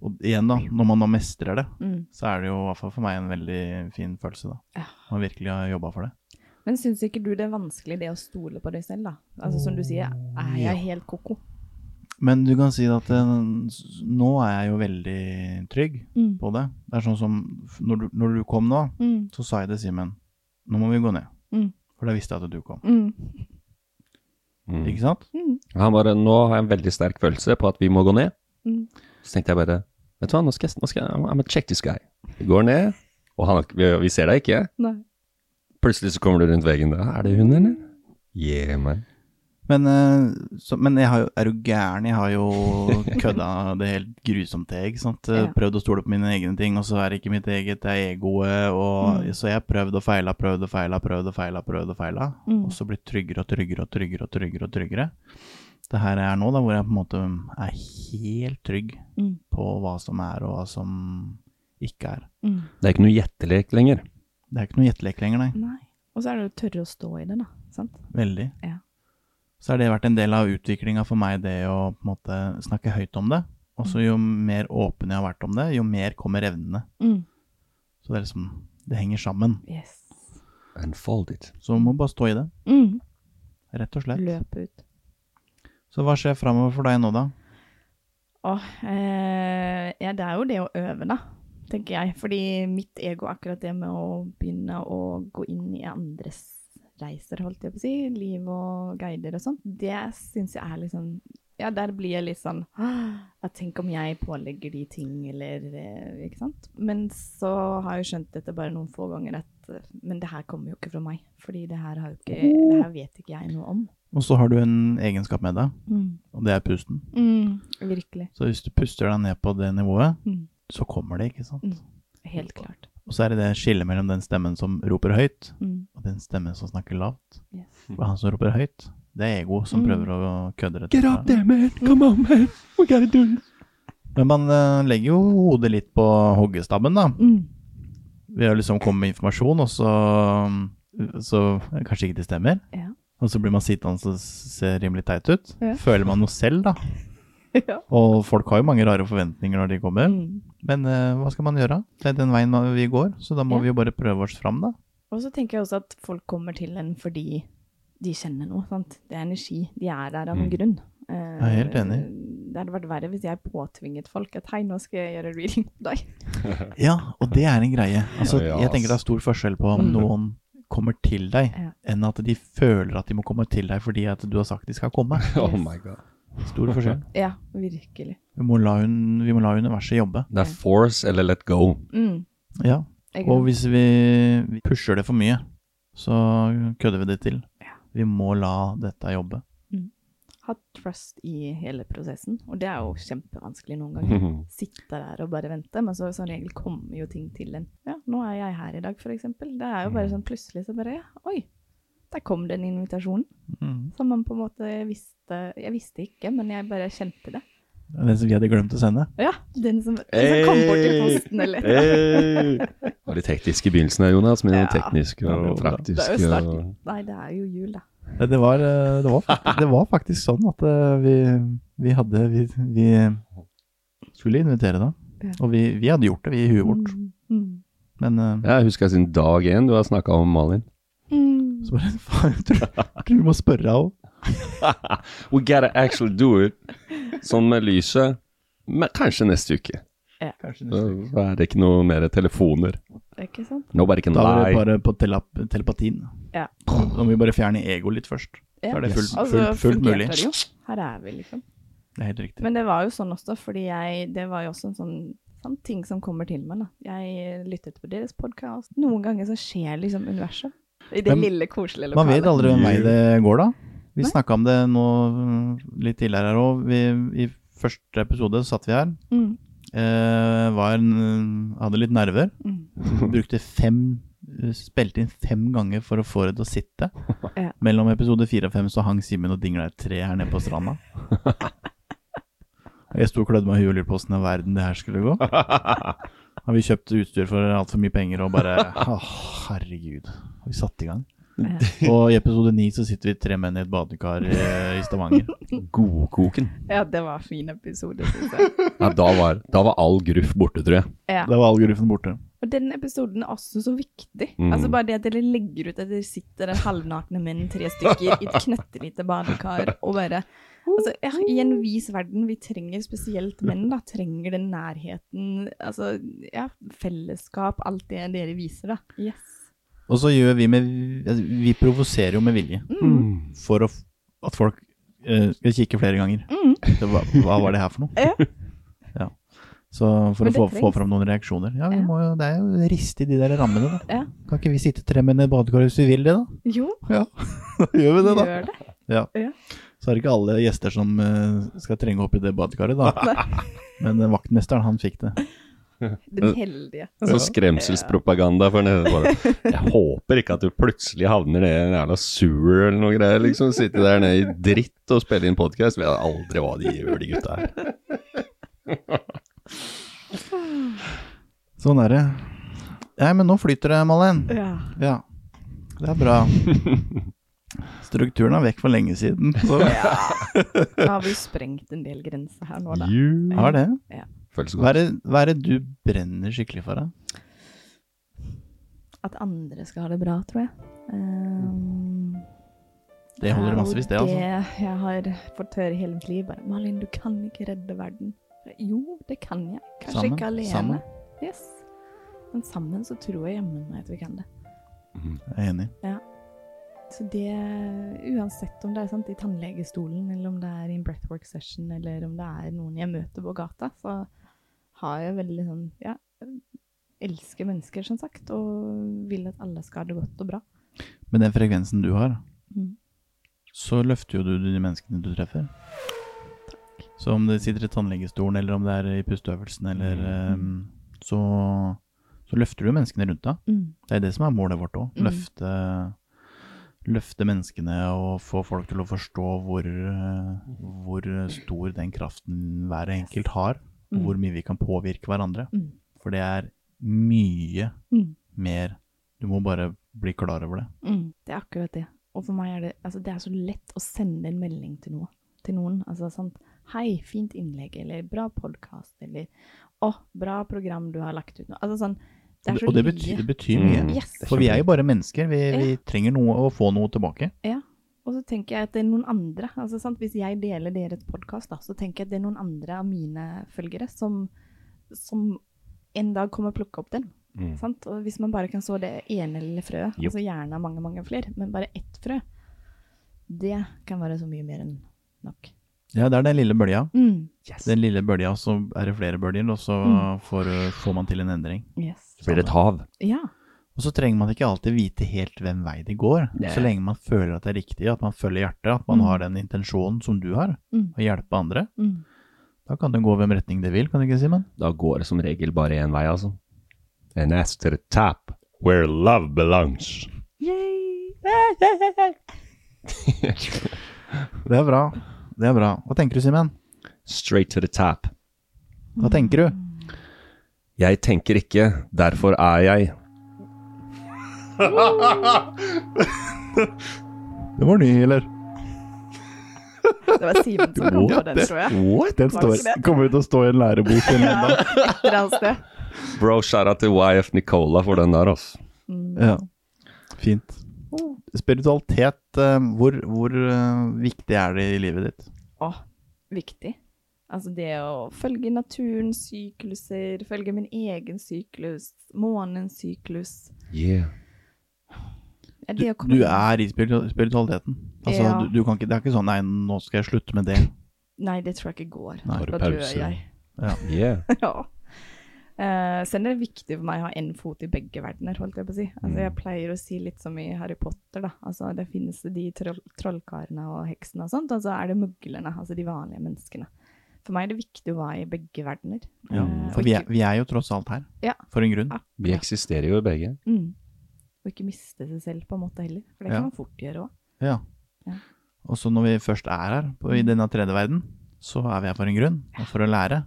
S2: Og igjen, da, når man da mestrer det,
S4: Mm.
S2: så er det jo i hvert fall for meg en veldig fin følelse, da.
S4: Ja.
S2: Man virkelig har jobba for det.
S4: Men syns ikke du det er vanskelig det å stole på deg selv, da? Altså som du sier, er jeg helt koko?
S2: Men du kan si at eh, s- nå er jeg jo veldig trygg
S4: Mm.
S2: på det. Det er sånn som f- når du, når du kom nå,
S4: Mm.
S2: så sa jeg til Simen nå må vi gå ned.
S4: Mm.
S2: For da visste jeg at du kom.
S4: Mm.
S3: Mm.
S2: Ikke sant?
S4: Mm.
S3: Han bare Nå har jeg en veldig sterk følelse på at vi må gå ned.
S4: Mm.
S3: Så tenkte jeg bare Vet du hva, nå skal jeg, nå skal jeg I'm gonna check this guy. Vi går ned, og han, vi, vi ser deg ikke.
S4: Nei.
S3: Plutselig så kommer du rundt veggen. Da. Er det hun, eller? Yeah, man.
S2: Men, eh, så, men jeg har jo, er du gæren? Jeg har jo [LAUGHS] kødda det helt grusomt til. ikke sant?
S4: Ja.
S2: Prøvd å stole på mine egne ting, og så er det ikke mitt eget, det er egoet. Og,
S4: Mm.
S2: Så jeg har prøvd og feila, prøvd og feila, prøvd og feila, prøvd og feila.
S4: Mm.
S2: Og så blitt tryggere og tryggere og tryggere og tryggere. og tryggere. Det her jeg er nå, da, hvor jeg på en måte er helt trygg
S4: Mm.
S2: på hva som er, og hva som ikke er.
S4: Mm.
S3: Det er ikke noe gjettelek lenger.
S2: Det er ikke noe gjettelek lenger, nei.
S4: Nei. Og så er det å tørre å stå i det, da. Sant?
S2: Veldig.
S4: Ja.
S2: Så har det vært en del av utviklinga for meg, det å på en måte snakke høyt om det. Og så jo mer åpen jeg har vært om det, jo mer kommer evnene.
S4: Mm.
S2: Så det er liksom Det henger sammen.
S4: Yes.
S3: Unfold it.
S2: Så må bare stå i det,
S4: Mm.
S2: rett og slett.
S4: Løp ut.
S2: Så hva skjer framover for deg nå, da?
S4: Åh, eh, ja, det er jo det å øve, da, tenker jeg. Fordi mitt ego, akkurat det med å begynne å gå inn i andres reiser, holdt jeg på å si, liv og guider og sånt, det syns jeg er liksom Ja, der blir jeg litt sånn «Åh, at Tenk om jeg pålegger de ting, eller eh, Ikke sant? Men så har jeg jo skjønt dette bare noen få ganger at eh, Men det her kommer jo ikke fra meg. Fordi det her, har jo ikke, det her vet ikke jeg noe om.
S2: Og så har du en egenskap med deg, og det er pusten.
S4: Mm, virkelig.
S2: Så hvis du puster deg ned på det nivået,
S4: Mm.
S2: så kommer det, ikke sant?
S4: Helt klart.
S2: Og så er det det skillet mellom den stemmen som roper høyt,
S4: Mm.
S2: og den stemmen som snakker lavt.
S4: Yes.
S2: For han som roper høyt, det er ego som
S4: Mm.
S2: prøver å kødde det
S3: Get up there, man. Come on, man. We gotta do this.
S2: Men man eh, legger jo hodet litt på hoggestabben, da.
S4: Mm.
S2: Vi har liksom kommet med informasjon, og så, mm, så kanskje ikke det stemmer.
S4: Ja.
S2: Og så blir man sittende og se rimelig teit ut.
S4: Ja.
S2: Føler man noe selv, da.
S4: [LAUGHS] ja.
S2: Og folk har jo mange rare forventninger når de kommer.
S4: Mm.
S2: Men eh, hva skal man gjøre? Det er den veien man- vi går, så da må
S4: Ja.
S2: vi jo bare prøve oss fram, da.
S4: Og så tenker jeg også at folk kommer til en fordi de kjenner noe, sant? Det er energi. De er der av en
S3: Mm.
S4: grunn. Eh,
S2: Jeg er helt enig.
S4: Det hadde vært verre hvis jeg påtvinget folk at hei, nå skal jeg gjøre reading på deg. [LAUGHS]
S2: Ja, og det er en greie. Altså,
S3: Ja,
S2: jeg tenker det er stor forskjell på om
S4: Mm.
S2: noen kommer til deg,
S4: Ja.
S2: enn at de føler at de må komme til deg fordi at du har sagt de skal komme.
S3: [LAUGHS] Oh my god.
S2: Stor forskjell.
S4: Ja, virkelig.
S2: Vi må la, hun, vi må la universet jobbe.
S3: Det er force eller let go.
S4: Mm.
S2: Ja.
S4: Jeg-
S2: Og hvis vi vi pusher det for mye, så kødder vi det til.
S4: Ja.
S2: Vi må la dette jobbe.
S4: ha trust i hele prosessen, og det er jo kjempevanskelig noen
S2: Mhm.
S4: ganger. Sitte der og bare vente, men så som regel kommer jo ting til en. Ja, nå er jeg her i dag, for eksempel. Det er jo
S2: Mm.
S4: bare sånn plutselig så bare, ja, oi, der kom den invitasjonen.
S2: Mm.
S4: Som man på en måte visste, jeg visste ikke, men jeg bare kjente det.
S2: Det er Den som vi hadde glemt å sende.
S4: Ja, den som, den som kom bort til posten,
S3: [LAUGHS]
S4: eller?
S3: Hey! Var litt hektisk i begynnelsen, der, Jonas, men
S4: Ja.
S3: teknisk
S2: Ja, det var
S3: og
S2: bra.
S3: praktisk.
S4: Det er jo
S3: og-
S4: starten. Nei, det er jo jul, da.
S2: Nei, Det var, eh, det var, faktisk, det var faktisk sånn at eh, vi, vi hadde Vi, vi skulle invitere, da.
S4: Ja.
S2: Og vi, vi hadde gjort det, vi i huet vårt.
S4: Mm.
S2: Men eh,
S3: Ja, Jeg husker siden dag én du har snakka om Malin.
S4: Mm.
S2: så bare [LAUGHS] Faen, jeg tror, jeg tror vi må spørre henne.
S3: We gotta actually do it. Sånn med lyset. Men kanskje neste uke.
S2: Kanskje
S3: Da er det ikke noe mer telefoner.
S4: Ikke sant?
S3: Nobody can
S2: Da var det
S3: lie.
S2: bare eh, på telap telepatien.
S4: Ja.
S2: Nå må vi bare fjerne ego litt først. Så
S4: Ja.
S2: er det fullt,
S3: Yes.
S2: fullt,
S4: Altså,
S2: fullt
S4: fungerte
S2: mulig.
S4: det jo. Her er vi, liksom.
S2: Det er helt riktig.
S4: Men det var jo sånn også, fordi jeg, det var jo også en sånn, sånn ting som kommer til meg. Da. Jeg lyttet på deres podkast. Noen ganger så skjer liksom universet. I det
S2: Men
S4: lille, koselige
S2: Man vet
S4: lokalet.
S2: aldri hvem vei det går, da. Vi
S4: Nei.
S2: snakka om det nå mm, litt tidligere her òg. I første episode satt vi her.
S4: Mm,
S2: Eh, var, en- hadde litt nerver.
S4: mm.
S2: [LAUGHS] Brukte fem eh, Spilte inn fem ganger for å få det til å sitte.
S4: Ja.
S2: Mellom episode fire og fem så hang Simen og dingla et tre her nede på stranda. Jeg sto og klødde meg i huet og lurte på åssen i all verden det her skulle gå. Har vi kjøpt utstyr for altfor mye penger og bare [LAUGHS] «Åh, Herregud. Og Vi satte i gang. Og i episode ni så sitter vi tre menn i et badekar eh, i Stavanger.
S3: Godkoken.
S4: Ja, det var en fin episode,
S2: [LAUGHS]
S4: syns jeg.
S3: Ja, da var, da var all gruff borte, tror jeg.
S4: Ja.
S2: [LAUGHS] Da var all gruffen borte.
S4: Og den episoden er også så viktig.
S3: Mm.
S4: Altså Bare det at dere legger ut at dere sitter der halvnakne menn, tre stykker, i et knøttlite badekar og bare Altså, ja, I en vis verden, vi trenger spesielt menn, da. Trenger den nærheten, altså ja, fellesskap, alt det dere viser, da. Yes.
S2: Og så gjør vi med altså, Vi provoserer jo med vilje.
S4: Mm.
S2: For å, f- at folk eh, skal kikke flere ganger. Det, hva, hva var det her for noe?
S4: Mm. [LAUGHS] Ja.
S2: Ja. Så for å
S4: Men det
S2: få, få
S4: trengs.
S2: fram noen reaksjoner. Ja, vi
S4: Ja.
S2: Må jo, det er jo riste i de der rammene, da.
S4: Ja.
S2: Kan ikke vi sitte tre menn i et badekar hvis vi vil det, da?
S4: Jo,
S2: [LAUGHS] Da gjør vi det, da.
S4: gjør det.
S2: Ja.
S4: Ja.
S2: Så er det ikke alle gjester som eh, skal trenge opp i det badekaret, da. Men eh, vaktmesteren, han fikk det. Eh.
S4: Den heldige.
S3: Så sånn skremselspropaganda for nede på det. Jeg håper ikke at du plutselig havner nede i en jævla sewer eller noe greier, liksom. Sitte der nede i dritt og spille inn podkast. Vet aldri hva de gjør, de gutta her.
S2: Sånn er det. Nei, men nå flyter det, Malin.
S4: Ja.
S2: Ja. Det er bra. Strukturen er vekk for lenge siden. Så.
S4: Da har vi jo sprengt en del grenser her nå, da.
S2: Har det.
S3: Føles
S2: Hva
S3: godt.
S2: er det, hva er det du brenner skikkelig for? Da?
S4: At andre skal ha det bra, tror jeg. Um,
S2: Det holder massevis, det. altså.
S4: Eh, Det jeg har fått høre hele mitt liv, bare Malin, du kan ikke redde verden. Jo, det kan jeg. Kanskje
S2: Sammen,
S4: ikke alene.
S2: sammen.
S4: Yes. Men sammen så tror jeg jammen meg at vi kan det.
S2: Jeg er enig.
S4: Så det, uansett om det er sant, i tannlegestolen, eller om det er i en breathwork session, eller om det er noen jeg møter på gata, så har jeg veldig sånn, ja, elsker mennesker, som sagt, og vil at alle skal ha det godt og bra.
S2: Med den frekvensen du har,
S4: Mm.
S2: så løfter jo du de menneskene du treffer. Så om det sitter i tannlegestolen, eller om det er i pusteøvelsen, eller ehm, eh, så, så så løfter du jo menneskene rundt deg.
S4: Mm.
S2: Det er det som er målet vårt òg.
S4: Mm.
S2: Løfte, løfte menneskene og få folk til å forstå hvor, eh, hvor stor den kraften hver enkelt har. og Hvor mye vi kan påvirke hverandre.
S4: Mm.
S2: For det er mye
S4: Mm.
S2: mer. Du må bare bli klar over det.
S4: Mm, det er akkurat det. Og for meg er det, altså, det er så lett å sende en melding til, noe, til noen. Altså sånn Hei, fint innlegg, eller bra podkast, eller Å, bra program du har lagt ut nå. Altså sånn Det er så
S2: og det
S4: mye.
S2: betyr, det betyr
S3: Mm.
S2: mye.
S4: Yes.
S2: For vi er jo bare mennesker. Vi, vi
S4: Ja.
S2: trenger noe å få noe tilbake.
S4: Ja. Og så tenker jeg at det er noen andre. Altså, sant? Hvis jeg deler deres podkast, så tenker jeg at det er noen andre av mine følgere som, som en dag kommer å plukke opp den.
S3: Mm.
S4: Sant? Og hvis man bare kan så det ene lille frøet,
S3: Jo.
S4: altså gjerne mange, mange flere, men bare ett frø, det kan være så mye mer enn nok.
S2: Ja, det er den lille bølja.
S4: Mm.
S2: Den lille bølja, så er det flere bølger, og så får, eh, får man til en endring.
S4: Yes.
S3: Så blir det et hav.
S4: Ja.
S2: Og så trenger man ikke alltid vite helt hvem vei det går, så lenge man føler at det er riktig, at man følger hjertet, at man har den intensjonen som du har,
S4: Mm.
S2: å hjelpe andre.
S4: Mm.
S2: Da kan det gå hvem retning det vil, kan du ikke si, men?
S3: Da går det som regel bare én vei, altså. And that's to the top, where love belongs.
S2: Det er bra. Det er bra. Hva tenker du, Simen?
S3: Straight to the top.
S2: Hva tenker du?
S4: Mm.
S3: Jeg tenker ikke, derfor er jeg.
S2: Det var ny, eller?
S4: Det var Simen som kom på
S2: What
S4: den,
S2: the-
S4: tror jeg.
S2: What? Den
S4: Var det
S2: står,
S4: ikke det?
S2: kommer ut til å stå i en lærebok
S4: [LAUGHS]
S2: en eller annen dag.
S4: Et eller annet sted.
S3: Bro, skjæra til YF Nicola for den der, altså.
S2: Ja. Fint.
S4: Oh.
S2: Spiritualitet, eh, hvor, hvor eh, viktig er det i livet ditt?
S4: Å, viktig. Altså det å følge naturens sykluser, følge min egen syklus, månens syklus.
S3: Yeah.
S4: Er
S2: Du,
S4: det å komme-
S2: du er i spiritu- spiritualiteten. Altså,
S4: Ja.
S2: du, du kan ikke, det er ikke sånn 'nei, nå skal jeg slutte med det'.
S4: Nei, det tror jeg ikke går.
S2: Nei.
S3: Har du
S4: Da
S3: pause?
S4: dør jeg. [LAUGHS]
S3: Yeah.
S4: ja. Eh, så er det viktig for meg å ha en fot i begge verdener, holdt jeg på å si.
S2: Mm.
S4: Altså, jeg pleier å si litt som i Harry Potter, da. Altså, det finnes de troll trollkarene og heksene og sånt, og så er det muglerne, altså de vanlige menneskene. For meg er det viktig å være i begge verdener.
S2: Ja.
S4: Eh,
S2: For
S4: og
S2: vi er,
S4: ikke-
S2: vi er jo tross alt her.
S4: Ja.
S2: For en grunn.
S4: Ja.
S3: Vi eksisterer jo begge.
S4: Mm. Og ikke miste seg selv på en måte heller, for det
S2: Ja.
S4: kan man fort gjøre òg.
S2: Ja.
S4: Ja. Mm.
S2: Og så når vi først er her, på, i denne tredje verden, så er vi her for en grunn, og for å lære.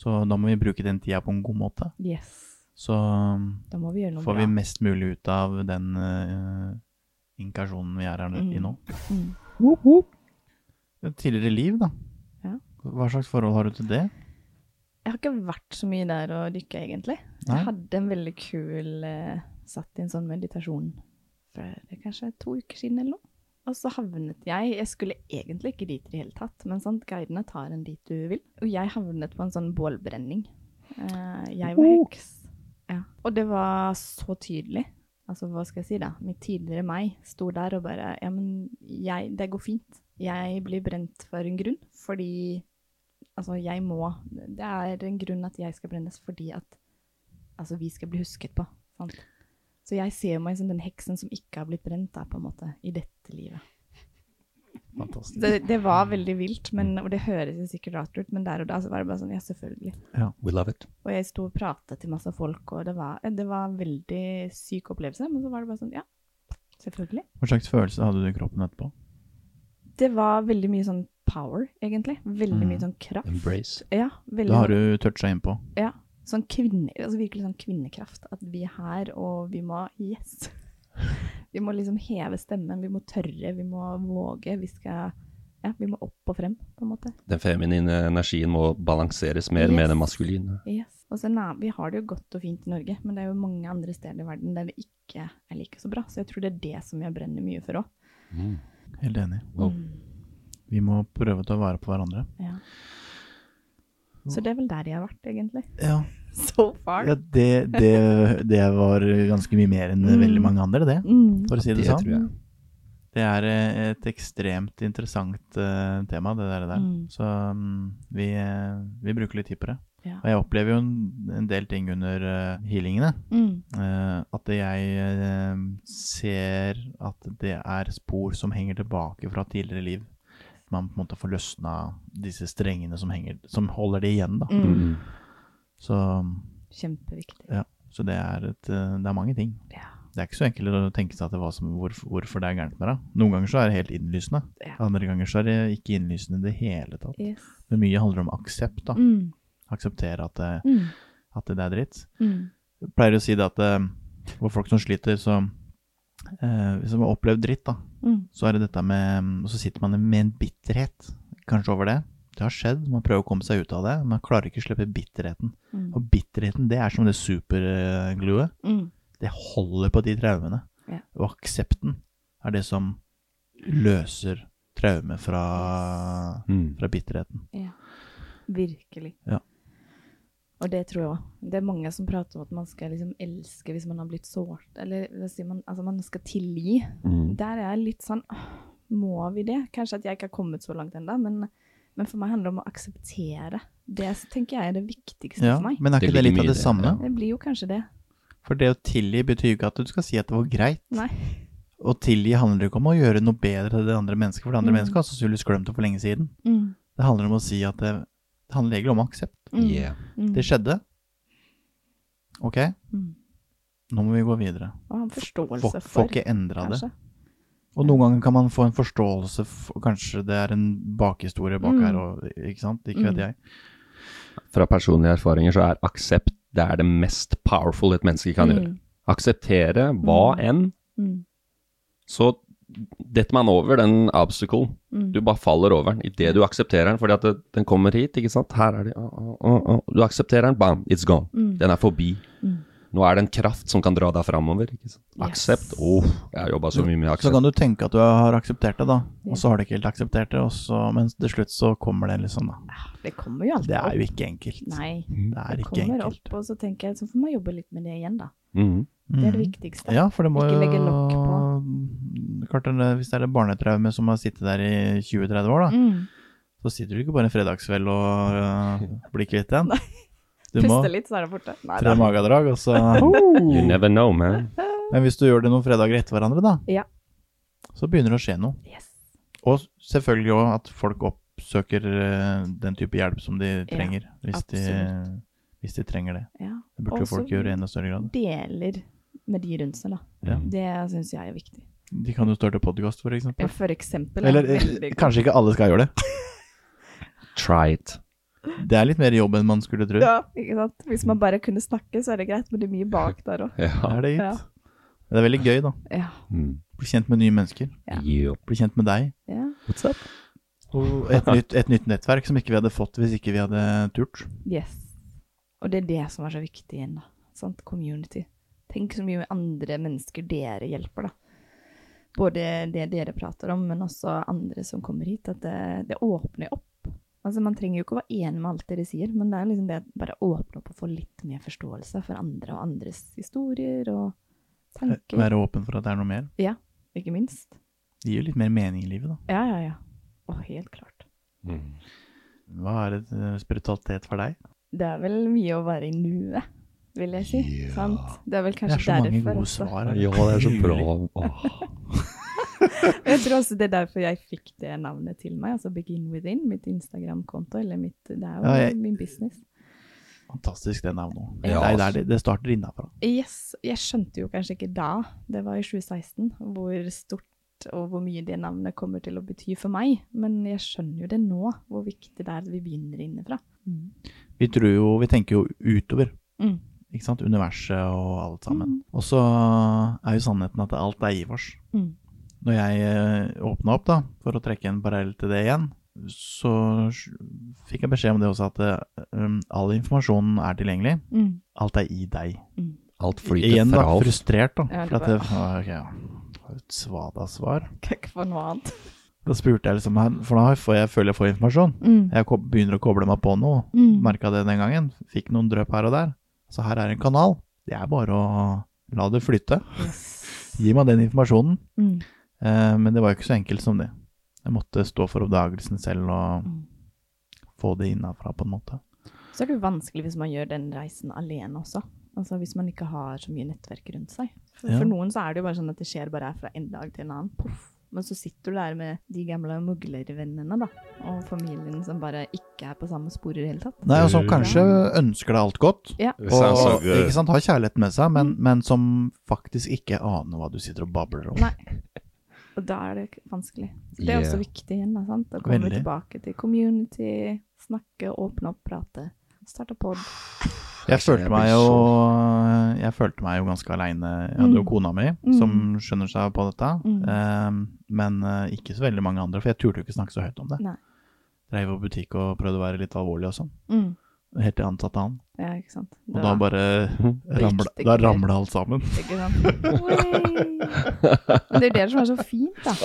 S2: Så da må vi bruke den tida på en god måte.
S4: Yes.
S2: Så um,
S4: Da må vi gjøre noe
S2: får
S4: bra.
S2: vi mest mulig ut av den uh, inkasjonen vi er her
S4: Mm.
S2: i nå.
S4: Mm.
S2: Et Tidligere liv, da.
S4: Ja.
S2: Hva slags forhold har du til det?
S4: Jeg har ikke vært så mye der å dykke, egentlig.
S2: Nei?
S4: Jeg hadde en veldig kul eh, Satt i en sånn meditasjon for eh, kanskje to uker siden eller noe. Og så havnet jeg Jeg skulle egentlig ikke dit i det hele tatt, men sånn, guidene tar en dit du vil. Og jeg havnet på en sånn bålbrenning. Eh, jeg var heks. Ja. Og det var så tydelig. Altså, hva skal jeg si, da? Mitt tidligere meg sto der og bare Ja, men jeg Det går fint. Jeg blir brent for en grunn, fordi Altså, jeg må Det er en grunn at jeg skal brennes fordi at altså, vi skal bli husket på. Sant? Så jeg ser meg som den heksen som ikke har blitt brent da, på en måte, i dette livet.
S2: Fantastisk.
S4: Det, det var veldig vilt, men, og det høres jo sikkert rart ut, men der og da så var det bare sånn, ja, selvfølgelig.
S3: We love it.
S4: Og jeg sto og pratet til masse folk, og det var, det var en veldig syk opplevelse, men så var det bare sånn, ja, selvfølgelig.
S2: Hva slags følelse hadde du i kroppen etterpå?
S4: Det var veldig mye sånn power, egentlig. Veldig
S2: Mm.
S4: mye sånn kraft.
S3: Embrace.
S4: Ja, veldig
S2: Det har du toucha innpå.
S4: Ja. Sånn kvinne, altså virkelig sånn kvinnekraft. At vi er her, og vi må Yes! [LAUGHS] Vi må liksom heve stemmen, vi må tørre, vi må våge. Vi skal Ja, vi må opp og frem, på en måte.
S3: Den feminine energien må balanseres mer
S4: Yes.
S3: med den maskuline.
S4: Yes. Og så na- Vi har det jo godt og fint i Norge, men det er jo mange andre steder i verden der det ikke er like så bra. Så jeg tror det er det som jeg brenner mye for òg.
S2: Helt enig.
S4: Mm.
S3: Wow.
S2: Vi må prøve å ta vare på hverandre.
S4: Ja. Så det er vel der jeg har vært, egentlig. [LAUGHS]
S2: Ja,
S4: So far.
S2: ja det, det, det var ganske mye mer enn
S4: Mm.
S2: veldig mange andre, det.
S4: Mm.
S2: For å si det,
S3: Det
S2: sånn.
S3: tror jeg.
S2: Det er eh, et ekstremt interessant eh, tema, det der. det der.
S4: Mm.
S2: Så mm, vi, eh, vi bruker litt tid på det.
S4: Ja.
S2: Og jeg opplever jo en, en del ting under eh, healingene.
S4: Mm.
S2: eh, at jeg eh, ser at det er spor som henger tilbake fra tidligere liv. Man på en måte får løsna disse strengene som, henger, som holder det igjen, da.
S4: Mm.
S3: Mm.
S2: Så
S4: Kjempeviktig.
S2: ja. Så det er, et, eh, det er mange ting.
S4: Ja.
S2: Det er ikke så enkelt å tenke seg til hva som, hvor, hvorfor det er gærent med det. Noen ganger så er det helt innlysende,
S4: Ja.
S2: andre ganger så er det ikke innlysende i det hele tatt.
S4: Yes.
S2: Men mye handler om aksept, da.
S4: Mm.
S2: Akseptere at det,
S4: Mm.
S2: at det er dritt.
S4: Mm.
S2: Jeg pleier å si det at eh, for folk som sliter, så eh, Hvis de har opplevd dritt, da,
S4: Mm.
S2: så er det dette med Og så sitter man med en bitterhet kanskje over det. Det har skjedd, man prøver å komme seg ut av det. Man klarer ikke å slippe bitterheten.
S4: Mm.
S2: Og bitterheten, det er som det supergluet.
S4: Mm.
S2: Det holder på de traumene.
S4: Ja.
S2: Og aksepten er det som løser traume fra,
S3: Mm.
S2: fra bitterheten.
S4: Ja. Virkelig.
S2: Ja.
S4: Og det tror jeg òg. Det er mange som prater om at man skal liksom elske hvis man har blitt sårt. Eller hva sier man, altså man skal tilgi.
S3: Mm.
S4: Der er jeg litt sånn «Åh, Må vi det? Kanskje at jeg ikke har kommet så langt ennå, men, men for meg handler det om å akseptere. Det tenker jeg er det viktigste
S2: Ja,
S4: for meg.
S2: men er
S3: Det
S2: ikke det litt
S3: ligger mye i
S2: av det
S3: det,
S2: samme?
S4: Det blir jo kanskje det.
S2: For det å tilgi betyr jo ikke at du skal si at det var greit.
S4: Nei.
S2: Å tilgi handler ikke om å gjøre noe bedre til det andre mennesket, for det andre
S4: Mm.
S2: mennesket har sannsynligvis glemt det for lenge siden.
S4: Mm.
S2: Det handler om å si at det, det handler egentlig om aksept.
S4: Mm.
S3: Yeah.
S4: Mm.
S2: Det skjedde. Ok,
S4: Mm.
S2: nå må vi gå videre.
S4: Og ha en
S2: Få,
S4: forståelse
S2: få
S4: for,
S2: ikke endra det.
S4: kanskje.
S2: Og noen ganger kan man få en forståelse for Kanskje det er en bakhistorie bak
S4: Mm.
S2: her, og, ikke sant? Ikke
S4: Mm.
S2: vet jeg.
S3: Fra personlige erfaringer så er aksept det er det mest powerful et menneske kan gjøre.
S4: Mm.
S3: Akseptere hva enn,
S4: Mm.
S3: så detter man over den obstacle.
S4: Mm.
S3: Du bare faller over den idet du aksepterer den, fordi at det, den kommer hit, ikke sant. Her er de å, å, å, å. Du aksepterer den, bam, it's gone.
S4: Mm.
S3: Den er forbi.
S4: Mm.
S3: Nå er det en kraft som kan dra deg framover. ikke sant? Aksept.
S4: Yes.
S3: Åh, jeg har jobba Mm. så mye med
S2: Så
S3: aksept.
S2: kan du tenke at du har akseptert det, da,
S4: Ja.
S2: og så har du ikke helt akseptert det, og så, men til slutt så kommer det liksom, da.
S4: Det kommer jo alltid
S2: Det er
S4: opp.
S2: jo ikke enkelt.
S4: Nei.
S2: Det er
S4: Det
S2: ikke
S4: kommer
S2: enkelt.
S4: opp, og så tenker jeg så får man jobbe litt med det igjen, da.
S3: Mhm.
S4: Det er det
S2: Mhm.
S4: viktigste.
S2: Ja, for det må
S4: Ikke
S2: jo
S4: legge lokk på.
S2: Mm, Klart det, er- Hvis det er et barnetraume som har sittet der i 20-30 år, da,
S4: Mm.
S2: så sitter du ikke bare en fredagskveld og øh, blir kvitt
S4: [LAUGHS]
S2: den. Du må
S4: Puste litt, så er det borte. Nei,
S2: tre
S4: da.
S2: magedrag, og så
S4: [LAUGHS]
S3: You never know, man.
S2: Men hvis du gjør det noen fredager etter hverandre, da,
S4: Ja.
S2: så begynner det å skje noe.
S4: Yes.
S2: Og selvfølgelig òg at folk oppsøker øh, den type hjelp som de trenger, hvis, de,
S4: absolutt.
S2: hvis de trenger det.
S4: Ja.
S2: Det burde jo
S4: Også-
S2: folk gjøre i enda større grad.
S4: Deler med de rundt seg, da.
S2: Ja.
S4: Det syns jeg er viktig.
S2: De kan jo starte podkast, for eksempel.
S4: Ja, for eksempel.
S2: Eller
S4: ja,
S2: eh,
S4: veldig-
S2: kanskje ikke alle skal gjøre det.
S3: Try it.
S2: Det er litt mer jobb enn man skulle tro.
S4: Ja, ikke sant? Hvis man bare kunne snakke, så er det greit, men det er mye bak der òg.
S2: Det
S3: Ja.
S2: er det
S4: Ja.
S2: gitt. Men Det er veldig gøy, da.
S4: Ja.
S3: Mm.
S2: Bli kjent med nye mennesker.
S4: Ja.
S3: Yep.
S2: Bli kjent med deg.
S4: ja.
S2: Og [LAUGHS] et nytt, et nytt nettverk som ikke vi hadde fått hvis ikke vi hadde turt.
S4: Yes. Og det er det som er så viktig igjen, da. Sant? Community. Tenk så mye andre mennesker dere hjelper, da. Både det dere prater om, men også andre som kommer hit. At det, det åpner opp. Altså, Man trenger jo ikke å være enig med alt dere sier, men det er liksom det å bare åpne opp og få litt mer forståelse for andre og andres historier og tanker,
S2: Være åpen for at det er noe mer.
S4: ikke minst.
S2: Det gir jo litt mer mening i livet, da.
S4: Ja, ja, ja. Å, helt klart.
S3: Mm.
S2: Hva er et eh, spiritualitet for deg?
S4: Det er vel mye å være i nuet, vil jeg si.
S3: Ja.
S4: Sant? Det er vel
S2: Det
S4: kanskje
S2: er så mange
S4: derfor
S2: gode
S4: også.
S2: svar. her.
S3: Ja, det er [LAUGHS] så bra.
S2: Mulig.
S3: Åh.
S4: Jeg tror også det er derfor jeg fikk det navnet til meg, altså Begin Within, mitt Instagram-konto, eller mitt, det er jo
S2: Ja, jeg-
S4: min business.
S2: Fantastisk, det navnet òg.
S3: Ja,
S2: det,
S3: altså.
S2: er der det- det starter innafra.
S4: Yes, jeg skjønte jo kanskje ikke da, det var i 2016, hvor stort og hvor mye det navnet kommer til å bety for meg, men jeg skjønner jo det nå, hvor viktig det er at vi begynner innenfra.
S2: Vi, tror jo, vi tenker jo utover.
S4: Mm.
S2: Ikke sant? Universet og alt sammen. Og så er jo sannheten at alt er givers.
S4: Mm.
S2: Når jeg åpna opp, da, for å trekke en parallell til det igjen, så sj- fikk jeg beskjed om det også, at eh, um, all informasjonen er tilgjengelig.
S4: Mm.
S2: Alt er i deg.
S3: Alt flyter
S2: Igjen, da,
S3: fra oss.
S2: frustrert, da.
S4: Ja, det
S2: For at
S4: var-
S2: det, ah, ok, ja. Det var Et svada svar.
S4: Kan ikke få noe annet.
S2: Da spurte jeg liksom, her, for da får jeg, føler jeg får informasjon.
S4: Mm.
S2: Jeg ko- begynner å koble meg på noe.
S4: Mm.
S2: Merka det den gangen. Fikk noen drypp her og der. Så her er en kanal. Det er bare å la det flytte.
S4: Yes.
S2: Gi meg den informasjonen.
S4: Mm.
S2: Eh, men det var jo ikke så enkelt som det. Jeg måtte stå for oppdagelsen selv og
S4: Mm.
S2: få det innafra, på en måte.
S4: Så er det jo vanskelig hvis man gjør den reisen alene også. Altså Hvis man ikke har så mye nettverk rundt seg. For,
S2: Ja.
S4: for noen så er det jo bare sånn at det skjer bare fra en dag til en annen. Poff, Men så sitter du der med de gamle muglervennene, da. Og familien som bare ikke er på samme spor i det hele tatt.
S2: Nei, og som kanskje ønsker deg alt godt.
S4: Ja.
S5: It
S2: Og
S5: sounds so good.
S2: ikke sant, har kjærligheten med seg,
S4: Mm.
S2: men, men som faktisk ikke aner hva du sitter og babler om.
S4: Nei. Og da er det k- vanskelig. Så det er også
S3: Yeah.
S4: viktig igjen, da, sant? Å komme
S2: Veldig.
S4: tilbake til community, snakke, åpne opp, prate. Starte pod.
S2: Jeg følte,
S3: Jeg blir
S2: meg jo,
S3: så-
S2: jeg følte meg jo ganske aleine. Jeg hadde jo
S4: Mm.
S2: kona mi,
S4: Mm.
S2: som skjønner seg på dette.
S4: Mm.
S2: eh, men eh, ikke så veldig mange andre, for jeg turte jo ikke snakke så høyt om det.
S4: Nei.
S2: Dreiv og butikk og prøvde å være litt alvorlig og sånn.
S4: Mm.
S2: Helt til han satte han.
S4: Ja, ikke sant.
S2: Og da [LAUGHS] bare
S4: gikk
S2: ramla,
S4: det
S2: da
S4: ikke.
S2: ramla alt sammen.
S4: Ikke sant? sånn, [LAUGHS] Oi. Men det er det som er så fint,
S2: [LAUGHS]
S4: da.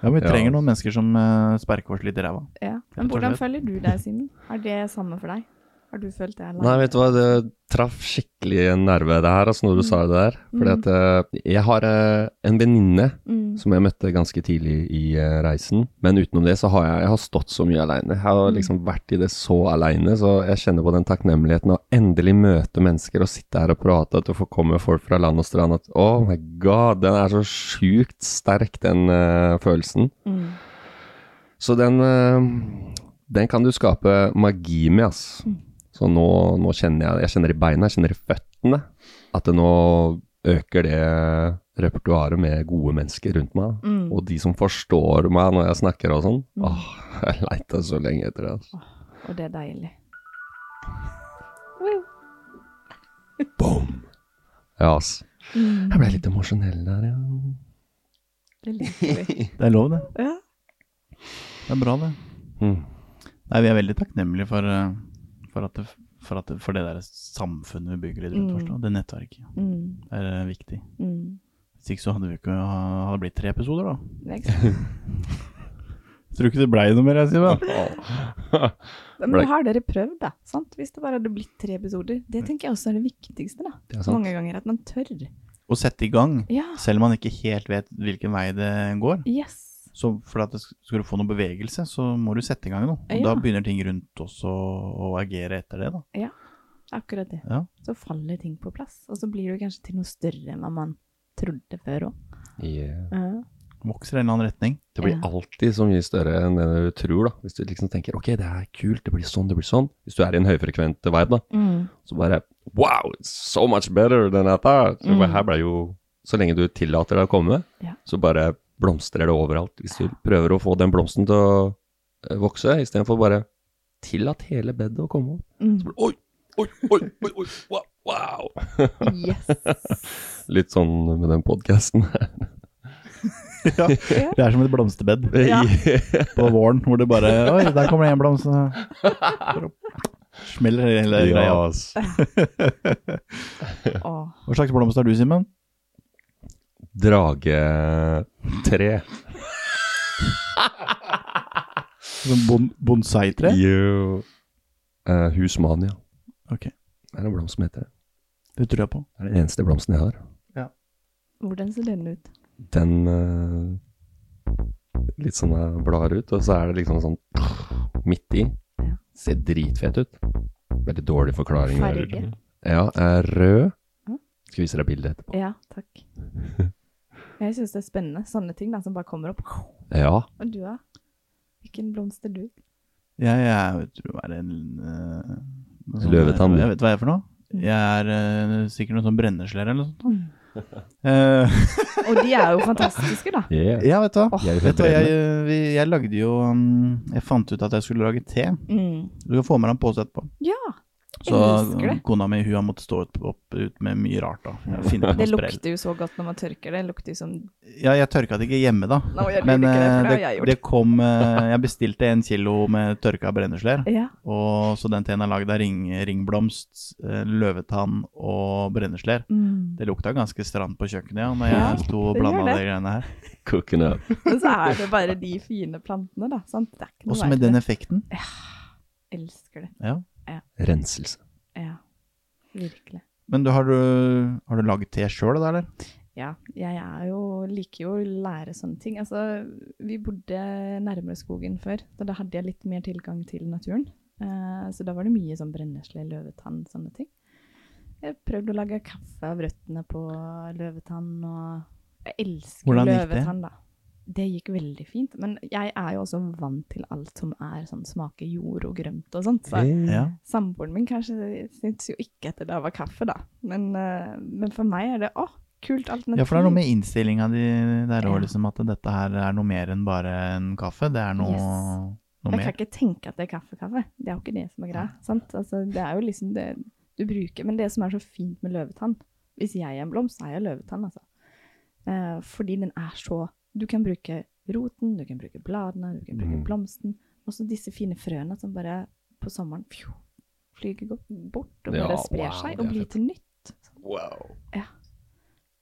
S2: Ja, men Vi
S3: Ja.
S2: trenger noen mennesker som eh, sparker oss litt i ræva.
S4: Ja.
S2: Rett og
S4: Men hvordan
S2: slett.
S4: føler du deg, Simen? Er det samme for deg? Har du følt det alene?
S3: Nei, vet du hva, det traff skikkelig en nerve det her, altså
S4: Mm.
S3: når du sa det der. Fordi at eh, jeg har eh, en venninne
S4: Mm.
S3: som jeg møtte ganske tidlig i eh, reisen. Men utenom det så har jeg, jeg har stått så mye aleine. Jeg
S4: Mm.
S3: har liksom vært i det så aleine, så jeg kjenner på den takknemligheten av endelig møte mennesker og sitte her og prate, at du får komme folk fra land og strand. At oh my god, den er så sjukt sterk, den eh, følelsen.
S4: Mm.
S3: Så den, eh, den kan du skape magi med, ass.
S4: Mm.
S3: Så nå, nå kjenner jeg det. Jeg kjenner i beina, jeg kjenner i føttene. At det nå øker det repertoaret med gode mennesker rundt meg. da.
S4: Mm.
S3: Og de som forstår meg når jeg snakker og sånn. Åh, jeg leita så lenge etter det. Altså.
S4: Og det er deilig. Wow.
S3: Ja, ass.
S4: Mm.
S3: Jeg ble litt emosjonell der, ja.
S4: Det liker
S3: [LAUGHS]
S4: vi.
S2: Det er lov, det.
S4: Ja.
S2: Det er bra, det.
S3: Mm.
S2: Nei, vi er veldig takknemlige for, eh, for, at det, for, at det, for det der samfunnet vi bygger litt rundt oss. da. Det nettverket
S4: Mm.
S2: er eh, viktig.
S4: Mm.
S2: Hvis ikke så hadde vi ikke ha- hadde det blitt tre episoder, da.
S4: Det er ikke sant.
S2: Tror ikke det blei noe mer, jeg sier.
S4: Men
S3: Blei-
S4: nå har dere prøvd, da. Sant? Hvis det bare hadde blitt tre episoder. Det tenker jeg også er det viktigste, da.
S3: Det er sant.
S4: Mange ganger at man tør.
S2: Å sette i gang,
S4: Ja.
S2: selv om man ikke helt vet hvilken vei det går.
S4: Yes.
S2: Så for at det sk- skal du få noe bevegelse, så må du sette i gang noe. Og
S4: Ja.
S2: Da begynner ting rundt oss å, å agere etter det, da.
S4: Akkurat det.
S2: Ja.
S4: Så faller ting på plass. Og så blir det kanskje til noe større enn hva man trodde før òg.
S3: Yeah.
S2: Vokser i en eller annen [LAUGHS] retning.
S3: Det blir
S4: Ja.
S3: alltid så mye større enn det du tror, da. Hvis du liksom tenker ok, det er kult, det blir sånn, det blir sånn. Hvis du er i en høyfrekvent vibe, da.
S4: Mm.
S3: Så bare Wow, it's so much better than I thought. Så
S4: Mm.
S3: bare, her ble jo Så lenge du tillater deg å komme,
S4: Ja.
S3: så bare blomstrer det overalt. Hvis du prøver å få den blomsten til å eh, vokse, istedenfor bare tillat hele bedet å komme opp.
S4: Mm.
S3: Oi, oi, oi, oi, oi, wow, wow.
S4: Yes.
S3: Litt sånn med den podkasten.
S2: Det er som et blomsterbed
S3: [LAUGHS]
S4: Ja.
S2: på våren, hvor det bare Oi, der kommer det en blomst. og så- Smeller hele greia.
S3: ja, ass.
S4: Åh.
S2: Hva slags blomst har du, Simen?
S3: Dragetre.
S2: Sånn bon Bonsai-tre?
S3: Jo. Eh, husmania.
S2: Ok,
S3: Det er en blomst som heter det.
S2: det tror jeg på.
S3: Det er den eneste blomsten jeg har.
S4: Hvordan ser den ut?
S3: den eh, litt sånn eh, blar ut, og så er det liksom sånn midt i.
S4: Ja.
S3: Ser dritfet ut. Veldig dårlig forklaring. der.
S4: Farge.
S3: Ja, er rød.
S4: Ja.
S3: Skal vise deg bildet etterpå.
S4: Ja, takk. [LAUGHS] Jeg syns det er spennende. Sånne ting da, som bare kommer opp.
S3: Ja.
S4: Og du, da? Hvilken blomst er du?
S2: Jeg, jeg tror jeg er en eh, noe sånn-
S3: Løvetann.
S2: Jeg vet hva jeg er for noe.
S4: Mm.
S2: Jeg er eh, sikkert noe sånn brenneslere eller noe sånt. [LAUGHS] Eh,
S4: Og de er jo fantastiske, da.
S3: Yeah.
S2: ja, vet du hva.
S3: Jeg er
S2: Vet du, hva,
S3: forberedende.
S2: jeg, eh, vi, jeg lagde jo mm, Jeg fant ut at jeg skulle lage te.
S4: Mm.
S2: Du kan få med deg en pose etterpå.
S4: Ja.
S2: Så
S4: Elsker det.
S2: kona mi hun har måttet stå ut, opp ut med mye rart. da Jeg har
S4: [LAUGHS]
S2: funnet på
S4: Det
S2: noe mm, sprell.
S4: lukter jo så godt når man tørker det. Det lukter jo som
S2: Ja, jeg tørka det ikke hjemme, da.
S4: Nå, jeg
S2: Men
S4: liker det,
S2: eh,
S4: for det har
S2: det,
S4: jeg gjort.
S2: det kom eh, Jeg bestilte en kilo med tørka brenneslær.
S4: [LAUGHS] Ja.
S2: Og så den teen er lagd av ring, ringblomst, eh, løvetann og brenneslær.
S4: Mm.
S2: Det lukta ganske stramt på kjøkkenet ja, når
S4: Ja,
S2: jeg sto og
S4: det gjør
S2: blanda
S4: det.
S2: de greiene her.
S3: Cooking up.
S4: Men så er det bare de fine plantene, da. Sant? Det er ikke noe
S2: Også med den effekten.
S4: Elsker det.
S2: Ja.
S3: Renselse.
S4: Ja. Virkelig.
S2: Men du, har, du, har du laget te sjøl, da, eller?
S4: Ja, jeg er jo, liker jo å lære sånne ting. Altså, vi bodde nærmere skogen før, så da hadde jeg litt mer tilgang til naturen. Eh, så da var det mye sånn brennesle, løvetann, sånne ting. Jeg prøvde å lage kaffe av røttene på løvetann, og jeg elsker
S2: Hvordan gikk det?
S4: løvetann, da. Det gikk veldig fint. Men jeg er jo også vant til alt som er sånn smaker jord og grønt og sånt. Så
S2: Ja.
S4: samboeren min kanskje syntes jo ikke at det der var kaffe, da. Men, eh, men for meg er det å, kult alternativ.
S2: ja, for det er noe med innstillinga di der òg,
S4: Ja.
S2: liksom. At dette her er noe mer enn bare en kaffe. Det er noe,
S4: Yes.
S2: noe
S4: Jeg
S2: mer.
S4: kan ikke tenke at det er kaffekaffe. Det er jo ikke det som er greia. sant? Altså, det er jo liksom det du bruker. Men det som er så fint med løvetann Hvis jeg er en blomst, så er jeg løvetann, altså. Eh, fordi den er så Du kan bruke roten, du kan bruke bladene, du kan bruke
S3: Mm.
S4: blomsten. Og så disse fine frøene som bare på sommeren pju, flyger go- bort og
S3: Ja,
S4: bare sprer
S3: wow, det
S4: seg
S3: er
S4: og blir
S3: fett.
S4: til nytt.
S3: Wow.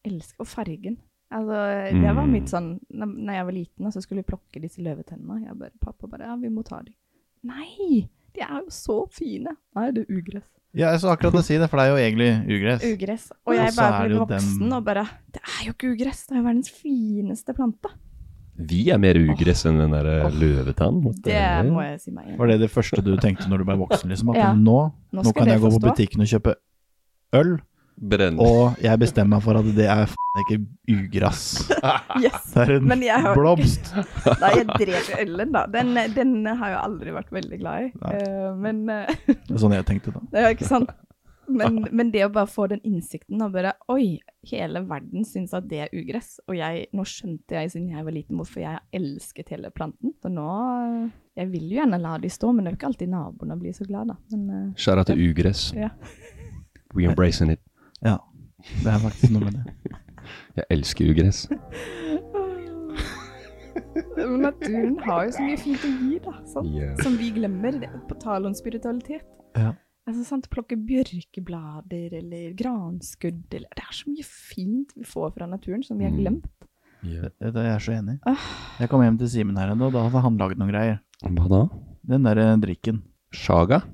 S4: Elsker. Og fargen. Altså, det var
S2: Mm.
S4: mitt sånn Når når jeg var liten, da, så skulle vi plukke disse løvetennene. Jeg bare, pappa bare Ja, vi må ta dem. Nei! De er jo så fine! Nei, det er ugress.
S2: Ja, jeg så akkurat å si det, for det er jo egentlig ugress.
S4: Ugress. Og
S2: Og
S4: jeg
S2: så
S4: bare
S2: er det
S4: ble
S2: jo
S4: voksen
S2: dem-
S4: og bare Det er jo ikke ugress! Det er jo verdens fineste plante.
S3: Vi er mer ugress enn den der eh, løvetann. eh, måtte
S4: Det
S3: jeg-
S4: må jeg si meg enig i.
S2: Var det det første du tenkte når du ble voksen? Liksom, at
S4: Ja.
S2: nå,
S4: Nå
S2: nå,
S4: skal
S2: kan
S4: det
S2: jeg gå
S4: få
S2: på
S4: stå.
S2: butikken og kjøpe øl,
S3: Brenn.
S2: og jeg bestemmer meg for at det er f***ing ikke ugress.
S4: Yes.
S2: [LAUGHS] Det er en
S4: Men jeg har-
S2: blomst.
S4: Nei, jeg drev jo Ellen, da. Den, den har jeg aldri vært veldig glad i.
S2: Nei.
S4: Eh, men eh,
S2: Det er sånn jeg tenkte da.
S4: Det er ikke sant. [LAUGHS] Men, men det å bare få den innsikten og bare Oi, hele verden syns at det er ugress. Og jeg, nå skjønte jeg siden jeg var liten hvorfor jeg elsket hele planten. Så nå Jeg vil jo gjerne la de stå, men det er jo ikke alltid naboene blir så glad, da. Men eh,
S3: Skjæra til ugress.
S4: Ja.
S3: We embracing it.
S2: Ja, det er faktisk noe med det.
S3: Jeg elsker ugress.
S4: [LAUGHS] men naturen har jo så mye fint å gi, da. Sant?
S3: Ja.
S4: Som vi glemmer. Det, på tale om spiritualitet.
S2: Ja.
S4: Altså, sant? Plukke bjørkeblader eller granskudd eller Det er så mye fint vi får fra naturen som vi har
S3: Mm.
S4: glemt.
S3: Ja.
S2: Det- Jeg er så enig.
S4: Ah.
S2: Jeg kom hjem til Simen her ennå, og da hadde han laget noen greier.
S3: Hva da?
S2: Den der eh, drikken.
S3: Shaga?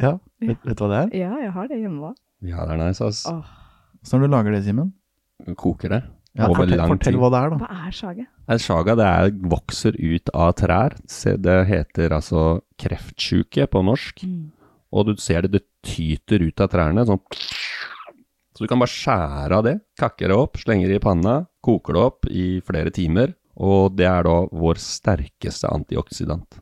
S2: Ja, vet, vet du hva det er?
S4: Ja, jeg har det hjemme òg.
S3: Ja, det er nice, ass.
S4: Åh.
S2: Så når du lager det, Simen?
S3: Koker det.
S2: Ja,
S3: Over
S2: fortell,
S3: lang tid.
S2: fortell hva det er da.
S4: Hva er sage?
S3: Nei, Shaga det er, vokser ut av trær. Se, Det heter altså kreftsjuke på norsk. Og du ser det, det tyter ut av trærne. Sånn. Så du kan bare skjære av det. Kakke det opp, slenge det i panna, koker det opp i flere timer. Og det er da vår sterkeste antioksidant.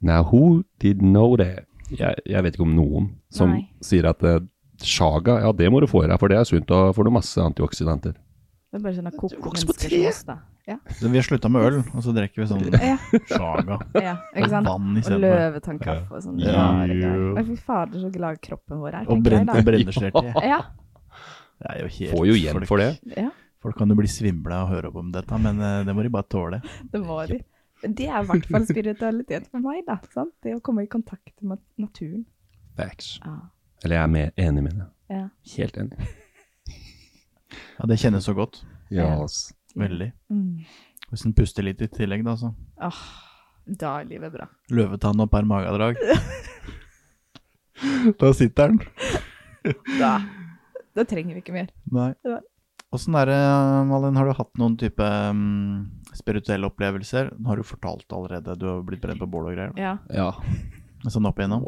S3: Now who did know that? Jeg, jeg vet ikke om noen som
S4: Nei.
S3: sier at eh, Shaga, ja det må du få i deg, for det er sunt, og får du masse antioksidanter.
S4: Det er bare sånn kokte
S3: vokser på
S4: mennesker
S3: tre.
S4: som oss, da.
S3: [LAUGHS]
S4: Ja,
S2: Så Vi har sluttet med øl, og så drikker vi sånn
S4: ja,
S2: sjaga.
S4: ja [LAUGHS] ikke sant?
S2: Vann i
S4: Og
S2: stedet for.
S4: løvetannkaffe og sånn.
S3: Ja.
S4: rare greier.
S2: Jo.
S4: Å, Fy fader, så glad kroppen vår er,
S2: Og
S4: tenker
S2: brenn-
S4: jeg da.
S2: brennesler til.
S4: [LAUGHS] Ja,
S2: Det er jo helt
S3: Får jo igjen
S2: folk-
S3: for det.
S4: ja,
S2: Folk kan jo bli svimla og høre opp om dette, men eh, det må de bare tåle.
S4: det må de. Men Det er i hvert fall spiritualitet for meg, da. Sant? Det å komme i kontakt med naturen.
S3: Facts.
S4: Ja.
S3: Eller jeg er med, enig med deg.
S4: Ja.
S3: Helt enig.
S2: Ja, Det kjennes så godt.
S3: Ja, ass.
S2: Veldig.
S4: Mm.
S2: Hvis en puster litt i tillegg, da, så.
S4: Åh, da er livet bra.
S2: Løvetann og per magedrag. [LAUGHS] da sitter den.
S4: Da, da trenger vi ikke mer.
S2: Nei.
S4: Ja.
S2: Åssen er det, Malin, har du hatt noen type mm, spirituelle opplevelser? Nå har du fortalt allerede, du har blitt brent på bål og greier. da.
S4: Ja.
S3: Ja.
S2: Sånn opp igjennom.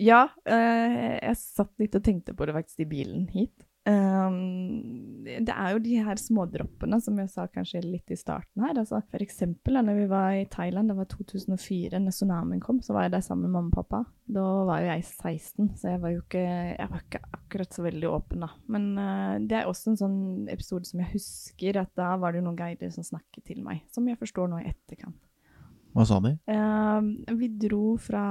S4: Ja, eh, jeg satt litt og tenkte på det faktisk i bilen hit. Um, det er jo de her smådroppene som jeg sa kanskje litt i starten her. Altså, for eksempel da når vi var i Thailand, det var 2004, når tsunamien kom, så var jeg der sammen med mamma og pappa. Da var jo jeg 16, så jeg var jo ikke, jeg var ikke akkurat så veldig åpen da. Men eh, det er også en sånn episode som jeg husker, at da var det jo noen guider som snakket til meg, som jeg forstår nå i etterkant.
S2: Hva sa de?
S4: Eh, vi dro fra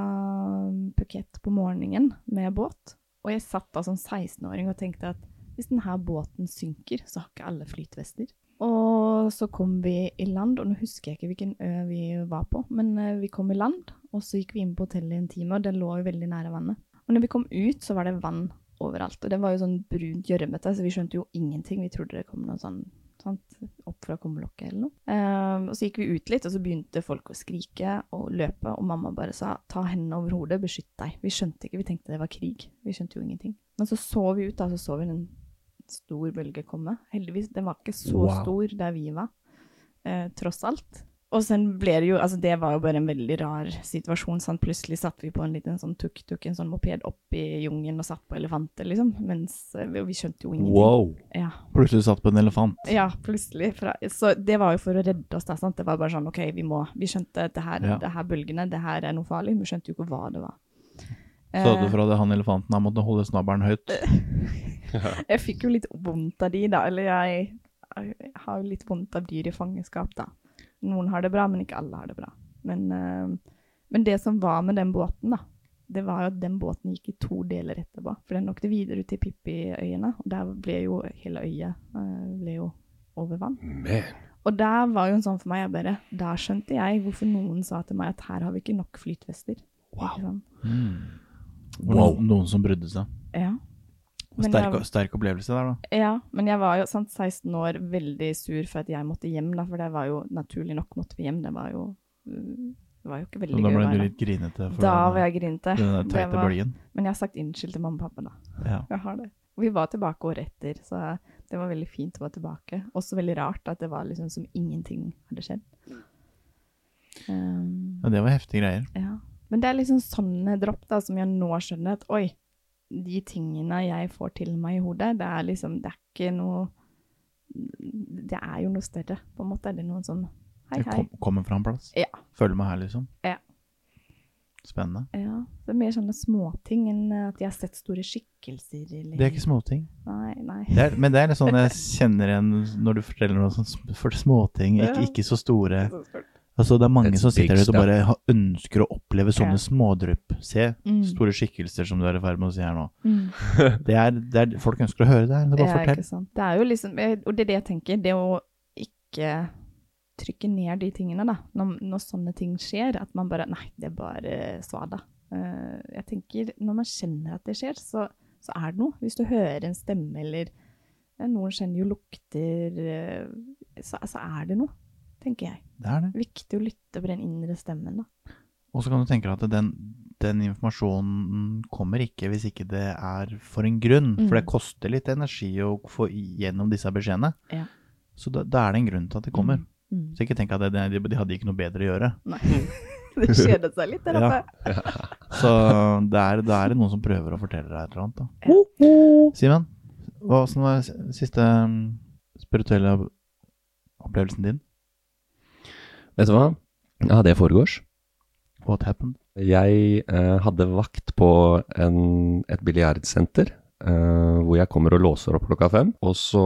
S4: Phuket på morgenen med båt, og jeg satt da som 16-åring og tenkte at hvis denne båten synker, så har ikke alle flytvester. Og så kom vi i land, og nå husker jeg ikke hvilken ø vi var på, men eh, vi kom i land, og så gikk vi inn på hotellet i en time, og det lå jo veldig nære vannet. Og når vi kom ut, så var det vann overalt, og det var jo sånn brunt gjørmete, så vi skjønte jo ingenting. Vi trodde det kom noe sånn sant? opp fra kumlokket eller noe. Ehm, og så gikk vi ut litt, og så begynte folk å skrike og løpe, og mamma bare sa ta hendene over hodet, beskytt deg. Vi skjønte ikke, vi tenkte det var krig. Vi skjønte jo ingenting. Men så så vi ut, da, så så vi en stor bølge komme. Heldigvis, den var ikke så
S2: Wow.
S4: stor der vi var, eh, tross alt. Og sen ble det jo Altså, det var jo bare en veldig rar situasjon. Sant? Plutselig satt vi på en liten sånn tuk-tuk, en sånn moped, opp i jungelen og satt på elefanter, liksom. Mens eh, vi vi skjønte jo ingenting. Ja.
S2: Plutselig satt på en elefant.
S4: ja, plutselig. Fra, så det var jo for å redde oss, da. Sant? Det var bare sånn OK, vi må Vi skjønte at det her,
S2: Ja.
S4: det her bølgene, det her er noe farlig. Vi skjønte jo ikke hva det var.
S2: Så
S4: Eh,
S2: hadde fra det han elefanten har måttet holde snabelen høyt.
S4: Jeg fikk jo litt vondt av de, da. Eller jeg, jeg har jo litt vondt av dyr i fangenskap, da. Noen har det bra, men ikke alle har det bra. Men, eh, men det som var med den båten, da, det var jo at den båten gikk i to deler etterpå. For den åkte videre ut til Pippiøyene, og der ble jo hele øya eh, ble jo over vann.
S3: Man.
S4: Og der var jo en sånn for meg, jeg bare Der skjønte jeg hvorfor noen sa til meg at her har vi ikke nok flytvester. Wow.
S2: Det var noen, noen som brydde seg.
S4: Ja. Men jeg-
S2: Sterk, sterk opplevelse der, da.
S4: Ja, men jeg var jo sant, 16 år veldig sur for at jeg måtte hjem, da, for det var jo naturlig nok måtte vi hjem. Det var jo, det var jo ikke
S2: Så da
S4: veldig gøy å
S2: ble du
S4: være
S2: litt grinete for
S4: Da
S2: den,
S4: var jeg grinete.
S2: den der
S4: Det
S2: teite
S4: var-
S2: bølgen.
S4: Men jeg har sagt unnskyld til mamma og pappa, da.
S2: Ja.
S4: Jeg har det. Vi var tilbake året etter, så det var veldig fint å være tilbake. Også veldig rart at det var liksom som ingenting hadde skjedd. Um,
S2: ja, det var heftige greier.
S4: ja. Men det er liksom sånne dropp da, som jeg nå skjønner at oi, de tingene jeg får til meg i hodet, det er liksom, det er ikke noe Det er jo noe større, på en måte. Er det noen sånn hei,
S2: Jeg
S4: hei.
S2: kom, kommer fra en plass.
S4: Ja.
S2: Følg meg her, liksom.
S4: Ja.
S2: Spennende.
S4: Ja, det er mer sånne småting enn at jeg har sett store skikkelser. Eller...
S2: Det er ikke småting.
S4: Nei, nei.
S2: Det er, men det er litt sånn jeg kjenner igjen når du forteller noe sånn sm- for småting, ikke, ikke så store. Altså, det er mange
S3: It's
S2: som sitter
S3: big
S2: der ute og
S3: stuff.
S2: bare ha- ønsker å oppleve sånne
S4: Ja.
S2: smådrypp. Se
S4: Mm.
S2: store skikkelser som du er i ferd med å si her nå.
S4: Mm.
S2: Det er, det er, folk ønsker å høre det her. Så bare
S4: Ja, ikke
S2: fortell.
S4: sant. Det er jo liksom, jeg- og det er det jeg tenker, det å ikke trykke ned de tingene da, når, når sånne ting skjer, at man bare, nei, det er bare svada. Eh, jeg tenker, når man kjenner at det skjer, så, så er det noe. Hvis du hører en stemme, eller ja, noen kjenner jo lukter, eh, så, så er det noe, tenker jeg.
S2: Det er det.
S4: Viktig å lytte på den indre stemmen da.
S2: Og så kan du tenke deg at den, den informasjonen kommer ikke hvis ikke det er for en grunn. For det
S4: Mm.
S2: koster litt energi å få gjennom disse beskjedene.
S4: Ja.
S2: Så da, da er det en grunn til at det kommer.
S4: Mm.
S2: Så ikke tenk at det, de, de hadde ikke noe bedre å gjøre.
S4: Nei, [LAUGHS] det kjedet seg litt der
S2: Mm. Ja.
S4: oppe.
S2: Så [LAUGHS] det er, det er noen som prøver å fortelle deg et eller annet. Da. Simen, hva som var s- siste um, spirituelle op- opplevelsen din?
S3: Vet du hva? Ja, det foregårs.
S2: What happened?
S3: Jeg eh, hadde vakt på en, et biljardsenter, eh, hvor jeg kommer og låser opp klokka fem. Og så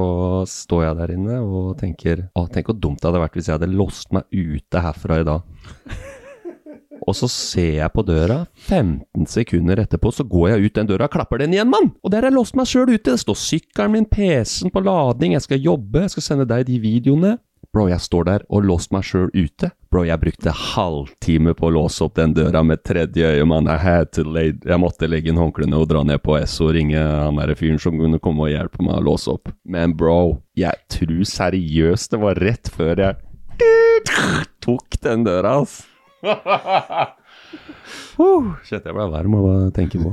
S3: står jeg der inne og tenker Å, tenk hvor dumt det hadde vært hvis jeg hadde låst meg ute herfra i dag. Og så ser jeg på døra, 15 sekunder etterpå så går jeg ut den døra og klapper den igjen, mann! Og der har jeg låst meg sjøl ute! Det står sykkelen min, PC-en på lading, jeg skal jobbe, jeg skal sende deg de videoene. Bro, jeg står der og låst meg sjøl ute. Bro, jeg brukte halvtime på å låse opp den døra med tredje øye, mann. I had to lay- Jeg måtte legge inn håndklærne og dra ned på SO og ringe han derre fyren som kunne komme og hjelpe meg å låse opp. Men bro, jeg tror seriøst det var rett før jeg tok den døra, ass. Uh, Shit, jeg ble varm av å tenke
S4: [LAUGHS]
S3: på.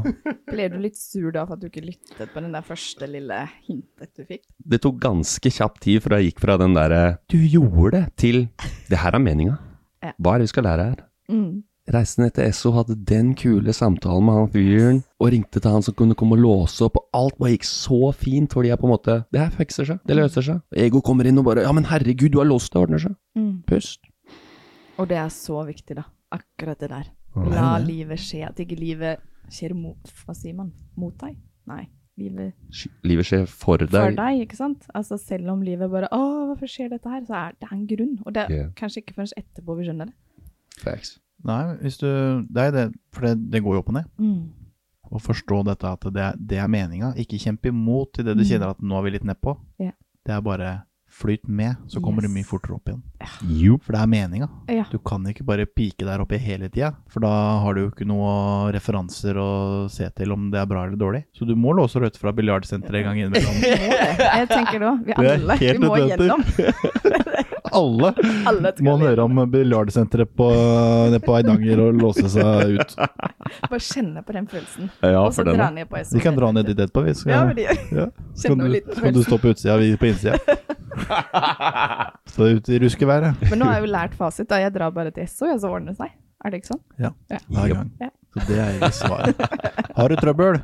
S4: Ble du litt sur da for at du ikke lyttet på den der første lille hintet du fikk?
S3: Det tok ganske kjapp tid fra jeg gikk fra den derre 'du gjorde det' til 'det her er meninga'.
S4: Ja.
S3: Hva er det vi skal lære her?
S4: Mm.
S3: Reiste ned til SO, hadde den kule samtalen med han fyren, og ringte til han som kunne komme og låse opp, og alt bare gikk så fint, fordi jeg på en måte Det her fikser seg, det løser seg. Ego kommer inn og bare 'ja, men herregud, du har låst det', ordner seg.
S4: Mm.
S3: Pust.
S4: Og det er så viktig, da. Akkurat det der.
S3: det er
S4: La
S3: det.
S4: livet skje. At ikke livet skjer mot Hva sier man? Mot deg? Nei. Livet
S3: Sk- Livet skjer for deg.
S4: for deg, ikke sant? Altså Selv om livet bare Å, hvorfor skjer dette her? Så er det er en grunn. Og det er
S3: Ja.
S4: kanskje ikke først etterpå vi skjønner det.
S3: Facts.
S2: Nei, hvis du, det er det, for det, det går jo opp og ned.
S4: Mm.
S2: Å forstå dette at det, er- det er meninga. Ikke kjempe imot i det du
S4: Mm.
S2: kjenner at nå er vi litt nedpå.
S4: Ja.
S2: Det er bare flyt med, så kommer du
S4: Yes.
S2: mye fortere opp igjen.
S3: Jo.
S2: For det er meninga.
S4: Ja.
S2: Du kan ikke bare pike der oppe hele tida, for da har du jo ikke noe referanser å se til om det er bra eller dårlig. Så du må låse rødt fra biljardsenteret en gang innimellom.
S4: Jeg tenker det òg. Vi
S2: er
S4: alle. Vi
S2: helt
S4: må
S2: nødvendig.
S4: gjennom.
S2: [LAUGHS] Alle
S4: Alle skal
S2: må høre om biljardsenteret på, nede på Eidanger og låse seg ut.
S4: Bare kjenne på den følelsen.
S3: Ja,
S4: og så
S3: for den.
S4: dra
S3: da.
S4: ned på SO.
S2: Vi kan dra ned dit etterpå, vi.
S4: Ja,
S2: Skal,
S4: men det gjør
S2: ja.
S4: Kjenner
S2: Skal
S4: jo
S2: du,
S4: litt
S2: skal du stå på utsida, vi på innsida. Stå ute i ruskeværet
S4: [LAUGHS] Men nå har jeg jo lært fasit. da. Jeg drar bare til SO, og så ordner det seg. Er det ikke sånn?
S2: hver gang.
S4: Ja.
S2: Så det er egentlig svaret. Har du trøbbel?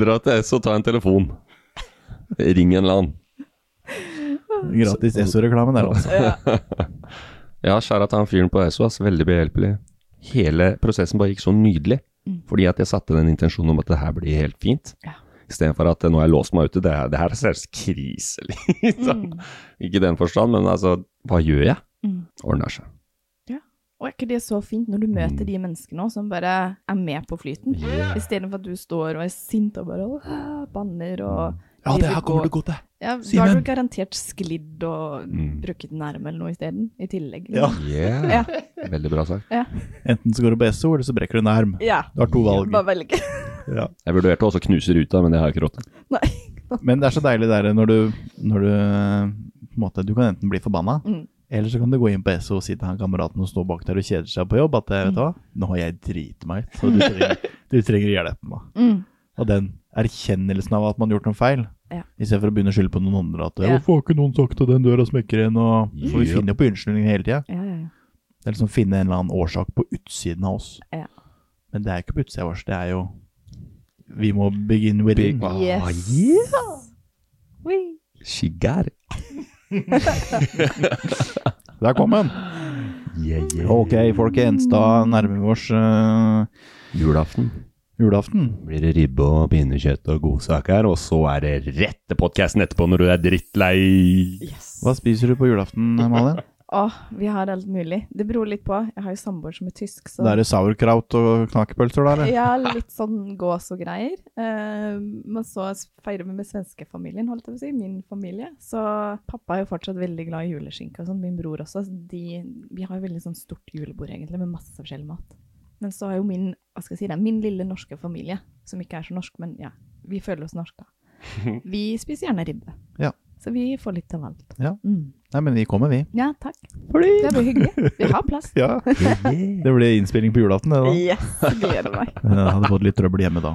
S3: Dra til S og ta en telefon. Ring en eller annen.
S2: Gratis SO-reklame der, altså.
S3: Ja, kjære til han fyren på SO, ass. Veldig behjelpelig. Hele prosessen bare gikk så nydelig. Fordi at jeg satte den intensjonen om at det her blir helt fint.
S4: Ja.
S3: Istedenfor at eh, nå har jeg låst meg ute. Det, her- det her ser krise liksom. Ikke i den forstand, men altså, hva gjør jeg?
S4: Mm.
S3: Ordner seg.
S4: Og er ikke det så fint når du
S2: Mm.
S4: møter de menneskene også, som bare er med på flyten? Istedenfor at du står og er sint og bare «Åh», banner og
S2: Mm. Ja, det her kommer du godt til.
S4: ja,
S2: Si
S4: Da har
S2: men.
S4: du garantert sklidd og
S3: Mm.
S4: brukket en arm eller noe isteden, i tillegg.
S2: Ja.
S3: Yeah. Veldig bra sagt.
S2: Enten så går du på SO, eller så brekker du en arm.
S4: ja.
S2: Du har to valg.
S4: Bare velge. [LAUGHS]
S2: Ja.
S3: Jeg vurderte også å knuse ruta, men det har jeg ikke råd til.
S4: Nei.
S2: Men det er så deilig der når du, når du eh, på en måte, Du kan enten bli forbanna,
S4: Mm.
S2: eller så kan du gå inn på SO og si til han kameraten som står bak der og kjeder seg på jobb, at eh, vet du hva,
S4: Mm.
S2: nå har jeg driti meg ut, så du
S4: [LAUGHS]
S2: trenger, du trenger hjelp. nå.
S4: Mm.
S2: Og den erkjennelsen av at man har gjort noen feil,
S4: Ja.
S2: istedenfor å begynne å skylde på noen andre. At
S4: Ja.
S2: 'hvorfor har ikke noen sagt at den døra smekker igjen', og For vi
S3: Ja.
S2: finner jo på unnskyldninger hele tida.
S4: Ja, ja, ja.
S2: Det er liksom å finne en eller annen årsak på utsiden av oss.
S4: Ja.
S2: Men det er ikke på utsida vår, det er jo Vi må begin within.
S3: Big-
S4: Yes.
S3: Ah, yeah.
S4: Oi.
S3: She got it.
S2: Der kom den!
S3: Yeah, yeah.
S2: Ok, folkens, da nærmer vi oss eh,
S3: Julaften.
S2: julaften.
S3: blir det ribbe og pinnekjøtt og godsaker, og så er det rett til podkasten etterpå når du er drittlei.
S4: Yes.
S2: Hva spiser du på julaften, Malin?
S4: Åh, vi har alt mulig. Det beror litt på. Jeg har jo samboer som er tysk, så
S2: Da er det sauerkraut og knakepølser, da? eller?
S4: Ja, litt sånn gås og greier. Eh, men så feirer vi med svenskefamilien, holdt jeg på å si. Min familie. Så pappa er jo fortsatt veldig glad i juleskinke og sånn. Min bror også. Så de, vi har jo veldig sånn stort julebord, egentlig, med masse forskjellig mat. Men så har jo min hva skal jeg si, det er min lille norske familie, som ikke er så norsk, men ja, vi føler oss
S2: [LAUGHS]
S4: norske. da. Vi spiser gjerne ribbe.
S2: Ja.
S4: Så vi får litt av alt.
S2: Ja.
S4: Mm.
S2: Nei, men vi kommer, vi.
S4: ja takk. Det blir hyggelig. Vi har plass.
S2: Ja. [LAUGHS] Det ble innspilling på julaften, det da.
S4: Yes, gleder meg.
S2: Jeg hadde fått litt trøbbel hjemme da.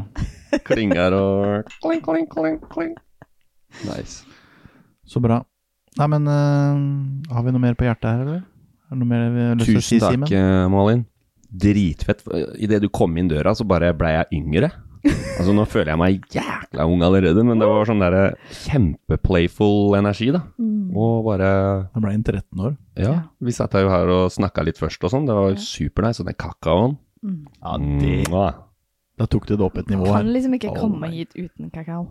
S3: Klinger og kling, kling, kling, kling. Nice.
S2: Så bra. Nei, men eh, har vi noe mer på hjertet her, eller? Er det noe mer vi har lyst til å si,
S3: Tusen takk,
S2: Simen?
S3: eh, Malin. Dritfett. Idet du kom inn døra, så bare blei jeg yngre. Altså, nå føler jeg meg jækla ung allerede, men det var sånn derre kjempeplayful energi, da. Og bare
S2: Da ble jeg en 13 år.
S3: Ja, vi satt jo her og snakka litt først og sånn. Det var supernice. Og den kakaoen.
S2: Ja,
S3: Mwah.
S2: Mm. Da tok du det opp et nivå her.
S4: Kan liksom ikke
S2: Oh
S4: komme
S2: my.
S4: hit uten
S2: [LAUGHS]
S4: kakao.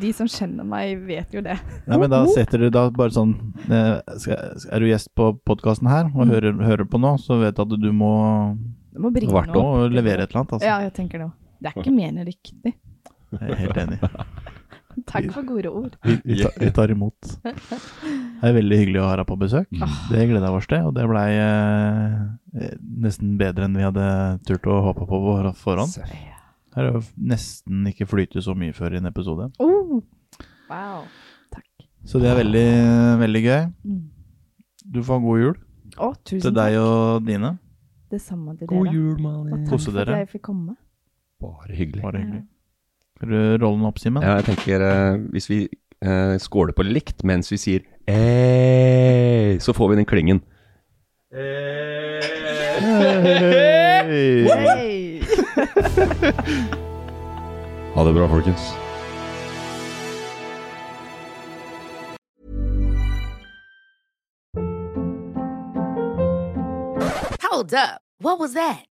S4: De som kjenner meg, vet jo det.
S2: Nei, men da setter du da bare sånn eh, skal, skal- Er du gjest på podkasten her og hører, hører på nå, så vet du at du må,
S4: Du må bringe
S3: Hvert
S2: må
S4: noe.
S2: levere et eller annet, altså.
S4: Ja, jeg tenker det òg. Det er ikke mer enn riktig.
S2: Jeg er helt enig.
S4: Takk for gode ord.
S2: Vi, vi, tar, vi tar imot. [LAUGHS] Ah. Det er veldig hyggelig å ha deg på besøk.
S4: Mm.
S2: Det gleda vi oss til, og det blei eh, nesten bedre enn vi hadde turt å håpe på på forhånd. Det er jo nesten ikke flyte så mye før i en episode.
S4: Oh, wow. Takk.
S2: Så det er veldig, veldig gøy.
S4: Mm.
S2: Du får ha god jul
S4: Å, tusen
S2: til deg
S4: takk.
S2: og dine.
S4: Det samme til
S3: God
S4: dere.
S3: jul,
S4: Og
S3: Malin.
S4: takk
S2: Kose
S4: for at
S2: dere.
S4: jeg fikk komme.
S3: Bare hyggelig.
S2: Bare hyggelig. Skal du rolle den opp, Simen?
S3: Ja, jeg tenker eh, hvis vi eh, skåler på likt mens vi sier Ei, så får vi den klingen.
S2: Hei!
S4: Hey.
S3: Ha det bra, folkens.
S6: Hold up. What was that?